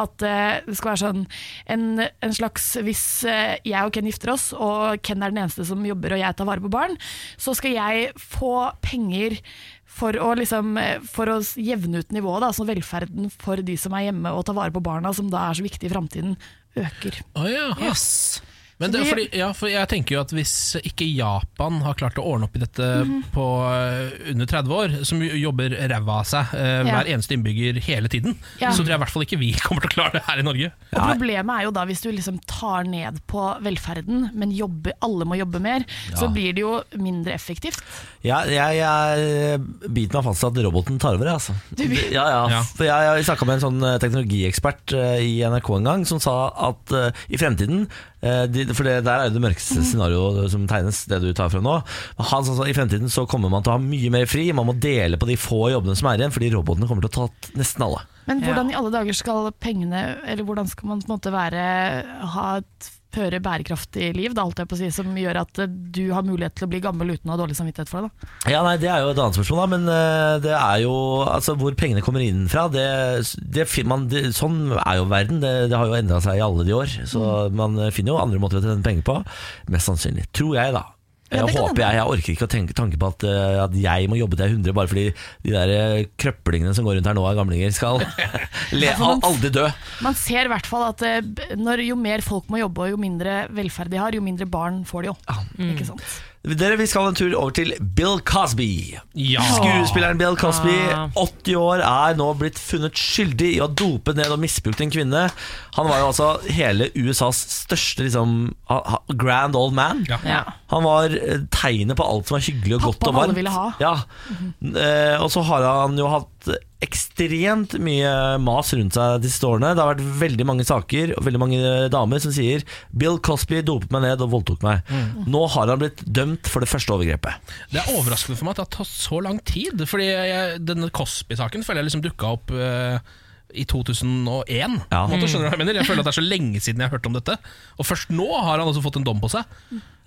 Speaker 4: at eh, det skal være sånn en, en slags Hvis eh, jeg og Ken gifter oss, og Ken er den eneste som jobber og jeg tar vare på barn, så skal jeg få penger for å, liksom, eh, for å s- jevne ut nivået, da, så velferden for de som er hjemme og tar vare på barna, som da er så viktig i framtiden, øker.
Speaker 2: Oh, ja.
Speaker 3: Jøss.
Speaker 2: Men det, er fordi, ja, for jeg tenker jo at hvis ikke Japan har klart å ordne opp i dette på eh, under 30 år, som jo jobber ræva av seg eh,
Speaker 4: Ja.
Speaker 2: hver eneste innbygger hele tiden,
Speaker 4: Ja.
Speaker 2: så tror jeg i hvert fall ikke vi kommer til å klare det her i Norge.
Speaker 4: Og Problemet er jo da hvis du liksom tar ned på velferden, men jobber, alle må jobbe mer, så blir det jo mindre effektivt.
Speaker 1: Jeg, jeg, jeg biter meg fast i at roboten tar over. jeg, Altså. Ja, ja.
Speaker 2: Ja.
Speaker 1: For Jeg, jeg snakka med en sånn eh, teknologiekspert eh, i NRK en gang, som sa at eh, i fremtiden eh, de, For det der er jo det mørkeste scenarioet som tegnes, det du tar fra nå. Men Han sa sånn, i fremtiden så kommer man til å ha mye mer fri, man må dele på de få jobbene som er igjen, fordi robotene kommer til å ta t- nesten alle.
Speaker 4: Men hvordan i alle dager skal pengene Eller hvordan skal man på en måte være ha et føre bærekraftig liv, da, holdt jeg på å si, som gjør at eh, du har mulighet til å bli gammel uten å ha dårlig samvittighet for det? da?
Speaker 1: Ja, nei, Det er jo et annet spørsmål, da, men eh, det er jo altså, hvor pengene kommer inn fra. Det, det, fin- man, det, sånn er jo verden. Det, det har jo endra seg i alle de år. Så
Speaker 4: Mm.
Speaker 1: man eh, finner jo andre måter å tjene penger på. Mest sannsynlig. Tror jeg, da.
Speaker 4: Ja,
Speaker 1: Jeg
Speaker 4: det kan
Speaker 1: håper
Speaker 4: hende.
Speaker 1: jeg. Jeg orker ikke å tenke tanke på at, eh, at jeg må jobbe til jeg er 100 bare fordi de der eh, krøplingene som går rundt her nå av gamlinger, skal le, al- aldri dø.
Speaker 4: Man ser i hvert fall at eh, b- når, jo mer folk må jobbe og jo mindre velferd de har, jo mindre barn får de jo. Ikke sant?
Speaker 1: Dere, Vi skal en tur over til Bill Cosby.
Speaker 2: Ja.
Speaker 1: Skuespilleren Bill Cosby,
Speaker 3: Ah.
Speaker 1: 80 år, er nå blitt funnet skyldig i å dope ned og misbrukt en kvinne. Han var jo altså hele USAs største liksom, ha- ha- grand old man.
Speaker 2: Ja.
Speaker 3: Ja.
Speaker 1: Han var eh, tegnet på alt som var hyggelig og godt
Speaker 4: Pappaen
Speaker 1: og varmt.
Speaker 4: alle ville ha.
Speaker 1: Ja. Eh, og så har han jo hatt ekstremt mye mas rundt seg disse årene. Det har vært veldig mange saker og veldig mange damer som sier 'Bill Cosby dopet meg ned og voldtok meg'.
Speaker 2: Mm.
Speaker 1: Nå har han blitt dømt for det første overgrepet.
Speaker 2: Det er overraskende for meg at det har tatt så lang tid. Fordi jeg, denne Cosby-saken føler jeg liksom dukka opp eh, i 2001. På
Speaker 1: Ja.
Speaker 2: en måte, skjønner du hva Jeg mener Jeg føler at det er så lenge siden jeg har hørt om dette. Og først nå har han altså fått en dom på seg.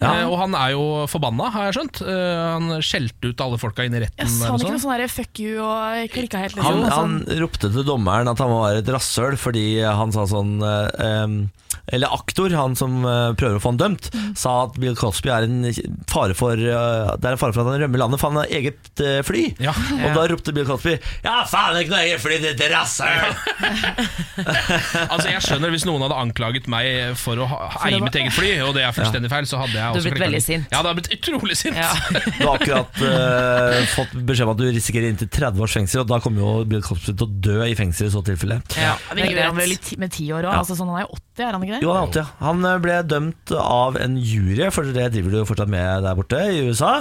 Speaker 2: Eh, og han er jo forbanna, har jeg skjønt. Eh, han skjelte ut alle folka inn i retten.
Speaker 4: Jeg sa
Speaker 2: eller
Speaker 4: han
Speaker 2: noe
Speaker 4: ikke noe
Speaker 2: sånt.
Speaker 4: sånn der 'fuck you' og klikka helt, liksom?
Speaker 1: Han,
Speaker 4: og
Speaker 1: han
Speaker 4: sånn.
Speaker 1: ropte til dommeren at han var et rasshøl fordi han sa sånn eh, em, Eller aktor, han som eh, prøver å få han dømt, sa at Bill Cosby er en fare for eh, Det er en fare for at han rømmer landet, for han har eget eh, fly.
Speaker 2: Ja.
Speaker 1: Og da ropte Bill Cosby Ja, faen, det er ikke noe eget fly, ditt rasshøl!
Speaker 2: Altså jeg skjønner Hvis noen hadde anklaget meg for å ha, eie mitt eget fly, og det er fullstendig feil, så hadde jeg
Speaker 3: Du
Speaker 2: også
Speaker 3: hadde blitt
Speaker 2: klikket
Speaker 3: veldig
Speaker 2: den.
Speaker 3: sint.
Speaker 2: Ja, det hadde blitt utrolig sint.
Speaker 3: Ja.
Speaker 1: Du har akkurat eh, fått beskjed om at du risikerer inntil 30 års fengsel, og da kommer jo Bill Cosby til å dø i fengsel i så tilfelle.
Speaker 3: Ja,
Speaker 4: Men
Speaker 3: det er
Speaker 4: gjør han vel i
Speaker 3: greit.
Speaker 4: ti- med ti år òg? Altså, sånn, han er jo 80, er han ikke det?
Speaker 1: Jo, han er 80, ja. Han eh, ble dømt av en jury, for det driver du jo fortsatt med der borte i USA.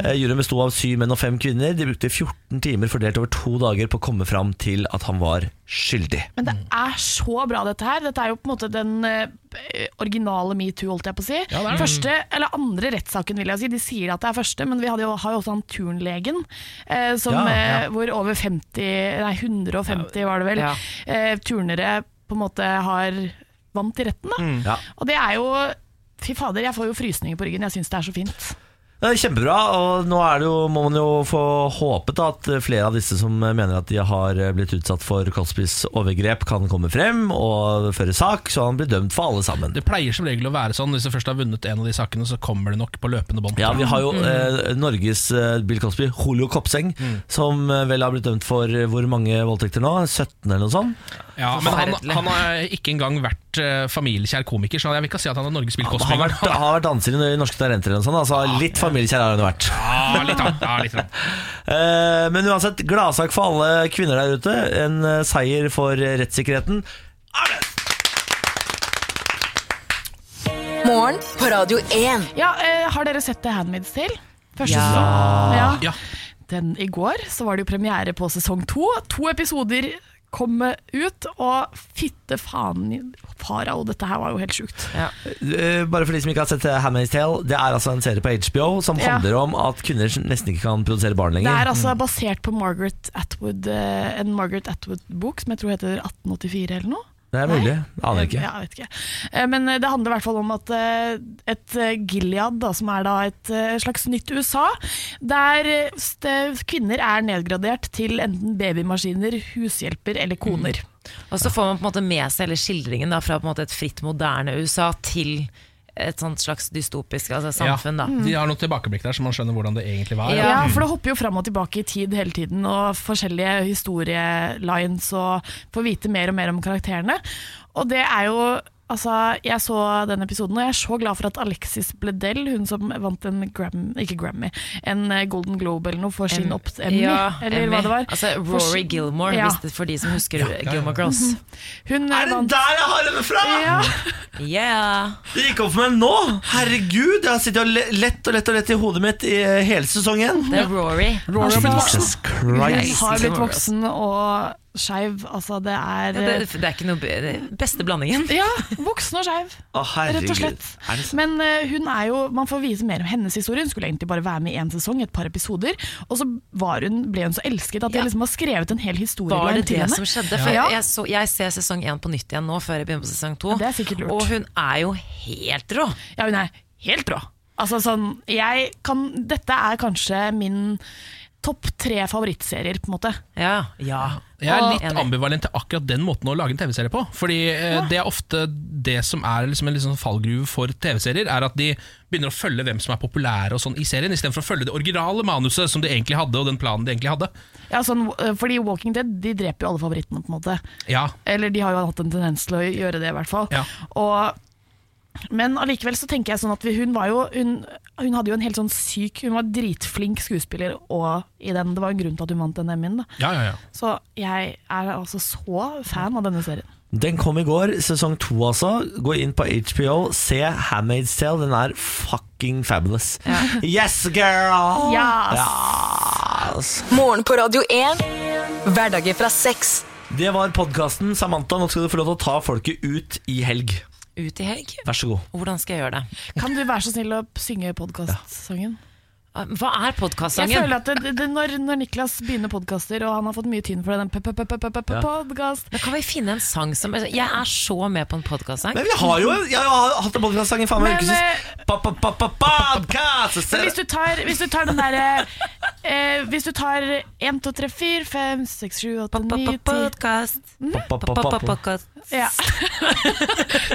Speaker 1: Eh, Juryen besto av syv menn og fem kvinner. De brukte 14 timer fordelt over to dager på å komme fram til at han var skyldig.
Speaker 4: Men det er så bra, dette her. Dette er jo på en måte den eh, originale metoo, holdt jeg på å si.
Speaker 2: det er det.
Speaker 4: første, eller andre rettssaken, vil jeg si. De sier at det er første, men vi hadde jo, har jo også han turnlegen, eh, som,
Speaker 1: Ja, ja.
Speaker 4: eh, hvor over 50, nei 150 var det vel,
Speaker 3: Ja.
Speaker 4: eh, turnere på en måte har vant i retten. Da.
Speaker 2: Mm.
Speaker 1: Ja.
Speaker 4: Og det er jo Fy fader, jeg får jo frysninger på ryggen. Jeg syns det er så fint.
Speaker 1: Det er kjempebra, og nå er det jo, må man jo få håpet at flere av disse som mener at de har blitt utsatt for Cosbys overgrep, kan komme frem og føre sak, så han blir dømt for alle sammen.
Speaker 2: Det pleier som regel å være sånn hvis du først har vunnet en av de sakene, så kommer det nok på løpende bånd.
Speaker 1: Ja, vi har
Speaker 4: Mm.
Speaker 1: jo eh, Norges eh, Bill Cosby, Julio Kopseng, som eh, vel har blitt dømt for eh, hvor mange voldtekter nå? 17 eller noe sånt?
Speaker 2: Ja, men han,
Speaker 3: Forferdelig.
Speaker 2: han har ikke engang vært eh, familiekjær komiker, så jeg vil ikke si at han har Norges Bill
Speaker 1: Han
Speaker 2: Cosby
Speaker 1: har
Speaker 2: engang.
Speaker 1: vært, han har vært danser i Norske Talenter eller noe sånt, altså litt familiekjær har han jo vært.
Speaker 2: Ja, litt rann. Ja, litt rann.
Speaker 1: Eh, men uansett, gladsak for alle kvinner der ute. En eh, seier for eh, rettssikkerheten.
Speaker 5: Morgen på Radio 1.
Speaker 4: Ja, eh, Har dere sett The Handmaid's Tale? Første
Speaker 3: Ja.
Speaker 4: sesong? ja.
Speaker 2: Ja.
Speaker 4: den i går, så var det jo premiere på sesong to. To episoder kom ut, og fitte faen farao, dette her var jo helt sjukt.
Speaker 3: Ja.
Speaker 1: Eh, bare for de som ikke har sett eh, Handmaid's Tale, det er altså en serie på HBO som
Speaker 4: Ja.
Speaker 1: handler om at kvinner nesten ikke kan produsere barn
Speaker 4: Det
Speaker 1: lenger.
Speaker 4: er altså basert på Margaret Atwood, eh, en Margaret Atwood-bok som jeg tror heter 1884 eller noe.
Speaker 1: Det er mulig. Aner ikke.
Speaker 4: Ja, jeg vet ikke. Eh, Men eh, det handler i hvert fall om at eh, et eh, Gilead, da, som er da et eh, slags nytt USA, der eh, st- kvinner er nedgradert til enten babymaskiner, hushjelper eller
Speaker 1: Mm.
Speaker 4: koner.
Speaker 3: Og så får man på en måte med seg hele skildringen da, fra på en måte et fritt, moderne USA til et sånt slags dystopisk altså, samfunn.
Speaker 4: Mm.
Speaker 3: Da.
Speaker 2: De har noen tilbakeblikk der, så man skjønner hvordan det egentlig var.
Speaker 3: Ja.
Speaker 4: Ja, for det hopper jo fram og tilbake i tid hele tiden, og forskjellige historielines, og får vite mer og mer om karakterene. Og det er jo Altså, Jeg så den episoden, og jeg er så glad for at Alexis Bledel, hun som vant en Grammy, ikke Grammy, en eh, Golden Globe eller noe, for sin opp... Emmy,
Speaker 3: Ja,
Speaker 4: eller
Speaker 3: Emmy.
Speaker 4: hva det var.
Speaker 3: Altså,
Speaker 4: For
Speaker 3: Rory
Speaker 4: sin-
Speaker 3: Gilmore,
Speaker 4: Ja.
Speaker 3: hvis
Speaker 4: Mhm.
Speaker 3: det, for de som husker Gilmore Girls.
Speaker 4: Hun
Speaker 1: Er det
Speaker 4: vant
Speaker 1: der jeg har henne fra?!
Speaker 4: ja.
Speaker 3: Yeah!
Speaker 1: Det gikk opp for meg nå! Herregud, jeg har sittet og le- lett og lett og lett i hodet mitt i eh, hele sesongen.
Speaker 3: Det er Rory.
Speaker 4: Altså,
Speaker 1: Jesus Christ.
Speaker 4: Hun har blitt voksen og skeiv. Altså, det er
Speaker 3: Ja, det, det er ikke noe be- det er beste blandingen.
Speaker 4: Ja, voksen og skeiv.
Speaker 1: Å, herregud.
Speaker 4: Rett og slett.
Speaker 1: Er det sant?
Speaker 4: Men eh, hun er jo, man får vise mer om hennes historie. Hun skulle egentlig bare være med i én sesong, et par episoder. Og så var hun, ble hun så elsket at
Speaker 3: Ja.
Speaker 4: jeg liksom har skrevet en hel historie
Speaker 3: Var det
Speaker 4: til
Speaker 3: det
Speaker 4: henne.
Speaker 3: som skjedde? For
Speaker 4: Ja.
Speaker 3: jeg, så, jeg ser sesong én på nytt igjen nå, før jeg begynner på sesong to.
Speaker 4: Ja, det er sikkert lurt.
Speaker 3: Og hun er jo helt rå.
Speaker 4: Ja, hun er helt rå. Altså sånn, jeg kan, dette er kanskje min topp tre favorittserier, på en måte.
Speaker 3: Ja. ja.
Speaker 2: Jeg er
Speaker 3: Og-
Speaker 2: litt
Speaker 3: Enig.
Speaker 2: ambivalent til akkurat den måten å lage en TV-serie på. Fordi eh, Det er ofte det som er liksom en litt sånn fallgruve for TV-serier, er at de begynner å følge hvem som er populære og sånn i serien, istedenfor å følge det originale manuset som de egentlig hadde, og den planen de egentlig hadde.
Speaker 4: Ja, sånn, eh, fordi Walking Dead de dreper jo alle favorittene, på en måte.
Speaker 2: Ja,
Speaker 4: Eller de har jo hatt en tendens til å gjøre det, i hvert fall.
Speaker 2: Ja.
Speaker 4: Og, men allikevel så tenker jeg sånn at vi, hun var jo hun, hun hadde jo en helt sånn syk Hun var dritflink skuespiller, og i den, det var en grunn til at hun vant den Emmyen. da.
Speaker 2: ja, ja, ja.
Speaker 4: Så jeg er altså så fan av denne serien.
Speaker 1: Den kom i går, sesong to altså. Gå inn på HBO, se Handmaid's Tale. Den er fucking fabulous. Yes, girl!
Speaker 4: Yes!
Speaker 1: Yes!
Speaker 5: Morgen på Radio 1. Hverdager fra seks.
Speaker 1: Det var podkasten. Samantha, nå skal du få lov til å ta folket ut i helg.
Speaker 3: Ut i helg.
Speaker 1: Vær så god.
Speaker 3: Hvordan skal jeg gjøre det?
Speaker 4: Kan du være så snill å synge podkastsangen?
Speaker 3: Ah, Hva er
Speaker 4: Jeg
Speaker 3: podkastsangen?
Speaker 4: føler at det, det, når, når Niklas begynner podkaster, og han har fått mye tynn for den podkast
Speaker 3: Men Kan vi finne en sang som Altså, Jeg er så med på en podkastsang.
Speaker 1: Men vi har jo Jeg har hatt en podkastsang i faen meg
Speaker 4: Men, eh,
Speaker 1: en uke siden. Pa, pa, pa, pa, podcast!
Speaker 4: Men hvis du tar, hvis du tar den derre eh, Hvis du tar 1, 2, 3, 4, 5, 6, 7, 8, 9, 10
Speaker 3: Podkast.
Speaker 1: Pa, pa, pa, pa.
Speaker 4: Ja.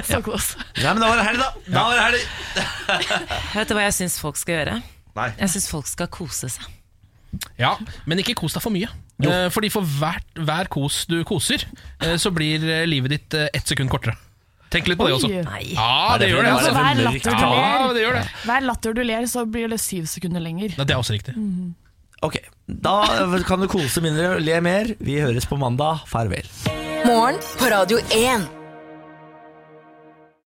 Speaker 4: Så close.
Speaker 1: Nei, men da var det helg, da. Da var det helg.
Speaker 3: Vet du hva jeg syns folk skal gjøre?
Speaker 1: Nei.
Speaker 3: Jeg syns folk skal kose seg.
Speaker 2: Ja, men ikke kos deg for mye. Eh, Fordi for hvert, hver kos du koser, eh, så blir eh, livet ditt eh, ett sekund kortere. Tenk litt på det også.
Speaker 4: Oi.
Speaker 3: Nei.
Speaker 2: Ja, det gjør det.
Speaker 4: Altså,
Speaker 2: Altså.
Speaker 4: hver latter du
Speaker 2: Ja,
Speaker 4: ler,
Speaker 2: det gjør det.
Speaker 4: hver latter du ler, så blir det syv sekunder lenger.
Speaker 2: Nei, det er også riktig.
Speaker 1: Ok, da kan du kose mindre, le mer. Vi høres på mandag. Farvel.
Speaker 5: Morgen på Radio 1.